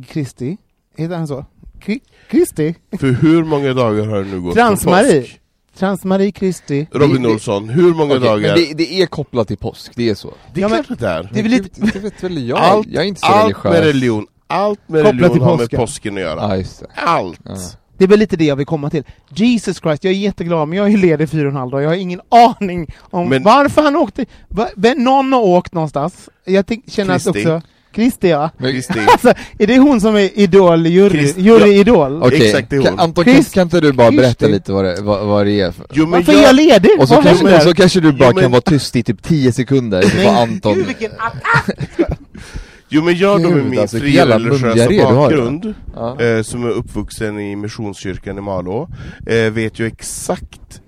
[SPEAKER 1] Kristi. Heter han så? Kri- Kristi?
[SPEAKER 2] För hur många dagar har det nu gått på
[SPEAKER 1] Transmarie.
[SPEAKER 2] påsk?
[SPEAKER 1] Transmarie Kristi.
[SPEAKER 2] Robin Olsson, hur många
[SPEAKER 3] Okej,
[SPEAKER 2] dagar?
[SPEAKER 3] Men det, det är kopplat till påsk, det är så.
[SPEAKER 2] Det är klart att det är.
[SPEAKER 3] Det, vet, det vet väl jag?
[SPEAKER 2] allt,
[SPEAKER 3] jag är inte så
[SPEAKER 2] allt
[SPEAKER 3] religiös.
[SPEAKER 2] med religion, allt med
[SPEAKER 1] Kopplat
[SPEAKER 2] religion
[SPEAKER 1] till
[SPEAKER 2] har med
[SPEAKER 1] påsken.
[SPEAKER 2] påsken att göra.
[SPEAKER 3] Ja, just det.
[SPEAKER 2] Allt!
[SPEAKER 1] Det är väl lite det jag vill komma till. Jesus Christ, jag är jätteglad men jag är ledig fyra och en halv dag. Jag har ingen aning om
[SPEAKER 2] Men-
[SPEAKER 1] varför han åkte. Va, vem- någon har åkt någonstans. Jag tänk, känner att
[SPEAKER 2] Kristi.
[SPEAKER 1] också... Kristi ja.
[SPEAKER 2] Kristi.
[SPEAKER 1] Alltså, är det hon som är idol, jury,
[SPEAKER 2] Krist-
[SPEAKER 1] jury
[SPEAKER 2] ja.
[SPEAKER 1] idol?
[SPEAKER 3] Okej,
[SPEAKER 2] Exakt det är hon.
[SPEAKER 3] kan, Anton kan,
[SPEAKER 1] Krist-
[SPEAKER 3] kan inte du bara berätta
[SPEAKER 1] Kristi.
[SPEAKER 3] lite vad det, vad, vad det är? För?
[SPEAKER 2] Jo, men
[SPEAKER 1] Varför är jag ledig?
[SPEAKER 3] Och så,
[SPEAKER 1] Vad
[SPEAKER 3] kanske,
[SPEAKER 1] händer?
[SPEAKER 3] och så kanske du bara
[SPEAKER 2] Jo, men-
[SPEAKER 3] kan vara tyst i typ 10 sekunder, typ vad Anton...
[SPEAKER 1] Gud vilken attack!
[SPEAKER 2] Jo men jag då med
[SPEAKER 3] Gud,
[SPEAKER 2] min
[SPEAKER 3] alltså, vilken
[SPEAKER 2] fria
[SPEAKER 3] jävla
[SPEAKER 2] religiösa
[SPEAKER 3] mundiarré du har,
[SPEAKER 2] bakgrund,
[SPEAKER 3] ja.
[SPEAKER 2] eh, som är uppvuxen i Missionskyrkan i Malå, eh, vet ju exakt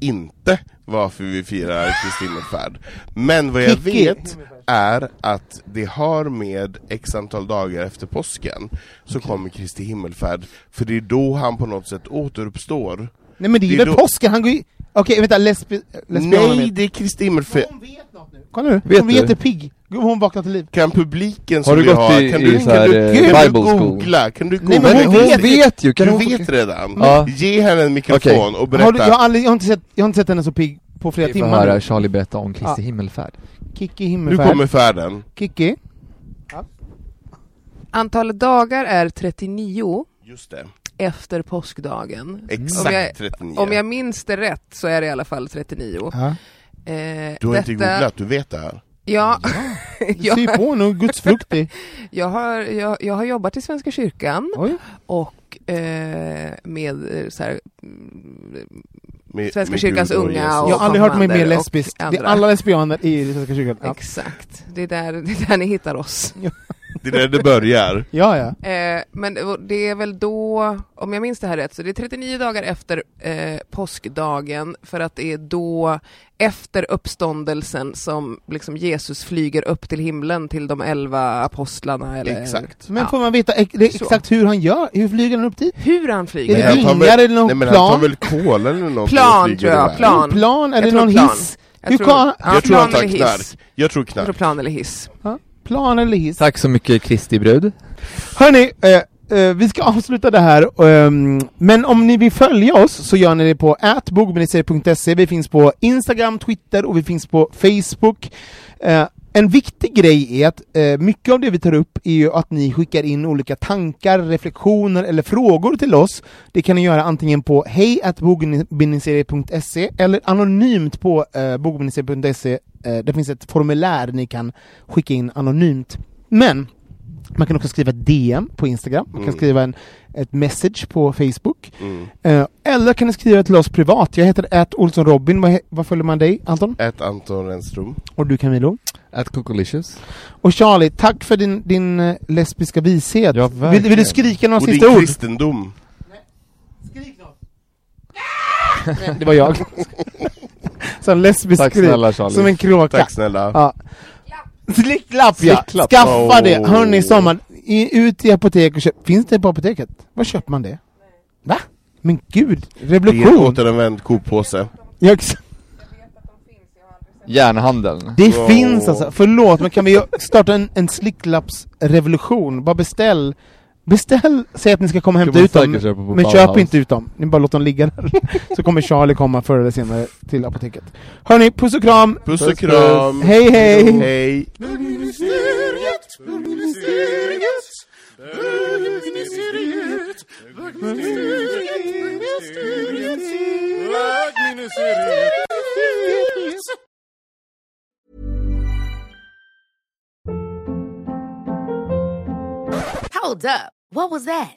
[SPEAKER 2] inte varför vi firar Kristi himmelfärd. Men vad jag
[SPEAKER 1] Kicki.
[SPEAKER 2] vet är att det har med x antal dagar efter påsken så kommer Kristi himmelfärd, för det är då han på något sätt återuppstår.
[SPEAKER 1] Nej men det är ju
[SPEAKER 2] Det är
[SPEAKER 1] väl
[SPEAKER 2] då-
[SPEAKER 1] påsken, han går ju... Okej vänta, lesbi... lesbianerna
[SPEAKER 2] Nej,
[SPEAKER 1] med.
[SPEAKER 2] det är Kristi himmelfärd.
[SPEAKER 1] Hon vet något nu. Kolla nu,
[SPEAKER 3] Vet
[SPEAKER 1] hon är
[SPEAKER 3] du?
[SPEAKER 1] jättepigg. Gud, Hon vaknar till liv.
[SPEAKER 2] Kan publiken som
[SPEAKER 3] Har du
[SPEAKER 2] vi
[SPEAKER 3] gått
[SPEAKER 2] har,
[SPEAKER 3] i-
[SPEAKER 2] kan
[SPEAKER 3] i
[SPEAKER 2] du,
[SPEAKER 3] så
[SPEAKER 2] kan
[SPEAKER 3] här,
[SPEAKER 2] du,
[SPEAKER 3] eh,
[SPEAKER 2] kan du
[SPEAKER 3] Bible school?
[SPEAKER 2] googla? Kan du googla?
[SPEAKER 1] Nej, men
[SPEAKER 3] Men
[SPEAKER 1] hon
[SPEAKER 2] Du
[SPEAKER 3] hon vet ju! Kan
[SPEAKER 2] du
[SPEAKER 3] hon...
[SPEAKER 2] vet redan.
[SPEAKER 3] Ja.
[SPEAKER 2] Ge henne en mikrofon
[SPEAKER 3] Okej.
[SPEAKER 2] och
[SPEAKER 1] Har du,
[SPEAKER 2] berätta.
[SPEAKER 1] jag, har aldrig, jag, har inte sett, jag har inte sett henne så pigg på flera
[SPEAKER 3] Vi får
[SPEAKER 1] timmar
[SPEAKER 3] höra
[SPEAKER 1] nu.
[SPEAKER 3] Charlie berätta om
[SPEAKER 1] Ja.
[SPEAKER 3] Kristi himmelfärd.
[SPEAKER 1] Kicki
[SPEAKER 2] nu
[SPEAKER 1] himmelfärd.
[SPEAKER 2] kommer färden.
[SPEAKER 1] Kicki.
[SPEAKER 5] Antalet dagar är 39
[SPEAKER 2] Just det.
[SPEAKER 5] efter påskdagen. Om jag,
[SPEAKER 2] Exakt 39.
[SPEAKER 5] om jag minns det rätt så är det i alla fall 39.
[SPEAKER 1] Ja.
[SPEAKER 5] Eh,
[SPEAKER 2] Du har inte
[SPEAKER 5] detta-
[SPEAKER 2] googlat, du vet det här.
[SPEAKER 5] Ja,
[SPEAKER 1] Du ser ju på henne, hon är gudsfruktig.
[SPEAKER 5] jag, har, jag, jag har jobbat i Svenska kyrkan
[SPEAKER 1] Oj.
[SPEAKER 5] och eh, med eh, så här, mm,
[SPEAKER 2] Med,
[SPEAKER 5] Svenska
[SPEAKER 2] med
[SPEAKER 5] kyrkans
[SPEAKER 2] Gud och
[SPEAKER 5] unga
[SPEAKER 2] Jesus.
[SPEAKER 5] och-
[SPEAKER 1] Jag har aldrig hört mig mer
[SPEAKER 5] konfirmander och
[SPEAKER 1] lesbisk. Det är
[SPEAKER 5] andra.
[SPEAKER 1] alla lesbianer i Svenska kyrkan. Ja.
[SPEAKER 5] Exakt, det är, där, det är där ni hittar oss.
[SPEAKER 2] Det är där det börjar.
[SPEAKER 1] ja, ja.
[SPEAKER 5] Eh, men det- det är väl då, om jag minns det här rätt, så det är 39 dagar efter eh, påskdagen för att det är då efter uppståndelsen som liksom Jesus flyger upp till himlen till de elva apostlarna. Eller,
[SPEAKER 2] Exakt.
[SPEAKER 1] Men
[SPEAKER 5] Ja.
[SPEAKER 1] får man veta ex- det är
[SPEAKER 5] Så.
[SPEAKER 1] exakt hur han gör? Hur flyger han upp dit?
[SPEAKER 5] Hur han flyger.
[SPEAKER 1] Är det
[SPEAKER 2] han tar
[SPEAKER 1] vingar
[SPEAKER 2] väl-
[SPEAKER 1] eller någon
[SPEAKER 2] Nej men han tar
[SPEAKER 1] plan?
[SPEAKER 2] väl kol eller något
[SPEAKER 5] Plan,
[SPEAKER 2] och flyger
[SPEAKER 5] tror jag,
[SPEAKER 2] iväg.
[SPEAKER 5] plan.
[SPEAKER 1] Någon plan? Är
[SPEAKER 5] Jag
[SPEAKER 1] det
[SPEAKER 5] tror
[SPEAKER 1] någon
[SPEAKER 5] plan.
[SPEAKER 1] hiss?
[SPEAKER 5] Jag
[SPEAKER 1] Hur
[SPEAKER 5] tror,
[SPEAKER 1] kan han-
[SPEAKER 5] ja,
[SPEAKER 2] Jag tror
[SPEAKER 5] plan
[SPEAKER 2] han tar
[SPEAKER 5] eller hiss.
[SPEAKER 2] knark. Jag tror
[SPEAKER 5] Jag tror
[SPEAKER 2] knark.
[SPEAKER 5] plan eller hiss.
[SPEAKER 1] Plan eller hiss?
[SPEAKER 3] Tack så mycket Kristi brud.
[SPEAKER 1] Hörni, eh, eh, vi ska avsluta det här. ehm, men om ni vill följa oss så gör ni det på atbogministeriet.se. Vi finns på Instagram, Twitter och vi finns på Facebook. Eh, en viktig grej är att eh, mycket av det vi tar upp är ju att ni skickar in olika tankar, reflektioner eller frågor till oss. Det kan ni göra antingen på hejatbogministeriet.se eller anonymt på eh, bogministeriet.se. Eh, det finns ett formulär ni kan skicka in anonymt. Men man kan också skriva ett DM på Instagram, man kan
[SPEAKER 2] Mm.
[SPEAKER 1] skriva en, ett message på Facebook.
[SPEAKER 2] Mm.
[SPEAKER 1] Eh, eller kan ni skriva till oss privat. Jag heter att Olsson Robin. Vad, he- vad följer man dig, Anton?
[SPEAKER 2] Ett Anton Renström.
[SPEAKER 1] Och du Camilo.
[SPEAKER 3] At Cockalicious.
[SPEAKER 1] Och Charlie, tack för din, din eh, lesbiska vishet.
[SPEAKER 3] Ja,
[SPEAKER 1] vill, vill du
[SPEAKER 3] verkligen.
[SPEAKER 1] skrika några
[SPEAKER 2] Och din
[SPEAKER 1] sista ord?
[SPEAKER 2] kristendom.
[SPEAKER 1] Nej, det var jag. som lesbisk
[SPEAKER 3] Tack
[SPEAKER 1] skrik.
[SPEAKER 3] snälla, Charlie.
[SPEAKER 1] Som en kråka.
[SPEAKER 2] Tack snälla.
[SPEAKER 1] Ja. Slicklapp ja!
[SPEAKER 3] Slicklapp.
[SPEAKER 1] Skaffa
[SPEAKER 2] Åh.
[SPEAKER 1] det! Hörni, sommar. I, ut i apotek och köp. Finns det på apoteket? Var köper man det? Va? Men gud,
[SPEAKER 2] Det är en
[SPEAKER 1] revolution!
[SPEAKER 2] återanvänd kopåse.
[SPEAKER 1] Jag ex-
[SPEAKER 3] Järnhandeln.
[SPEAKER 1] Det
[SPEAKER 2] Wow.
[SPEAKER 1] finns alltså, förlåt men kan vi starta en, en slicklappsrevolution? Bara beställ, beställ, säg att ni ska komma och
[SPEAKER 3] Kan
[SPEAKER 1] hämta
[SPEAKER 3] man
[SPEAKER 1] ut dem,
[SPEAKER 3] säkert köpa på
[SPEAKER 1] men köp
[SPEAKER 3] Bauhaus.
[SPEAKER 1] inte ut dem, ni bara låt dem ligga där. Så kommer Charlie komma förr eller senare till apoteket. Hörni, puss och kram!
[SPEAKER 2] Puss och kram.
[SPEAKER 1] Hej hej!
[SPEAKER 2] Hej.
[SPEAKER 6] Hold up. What was that?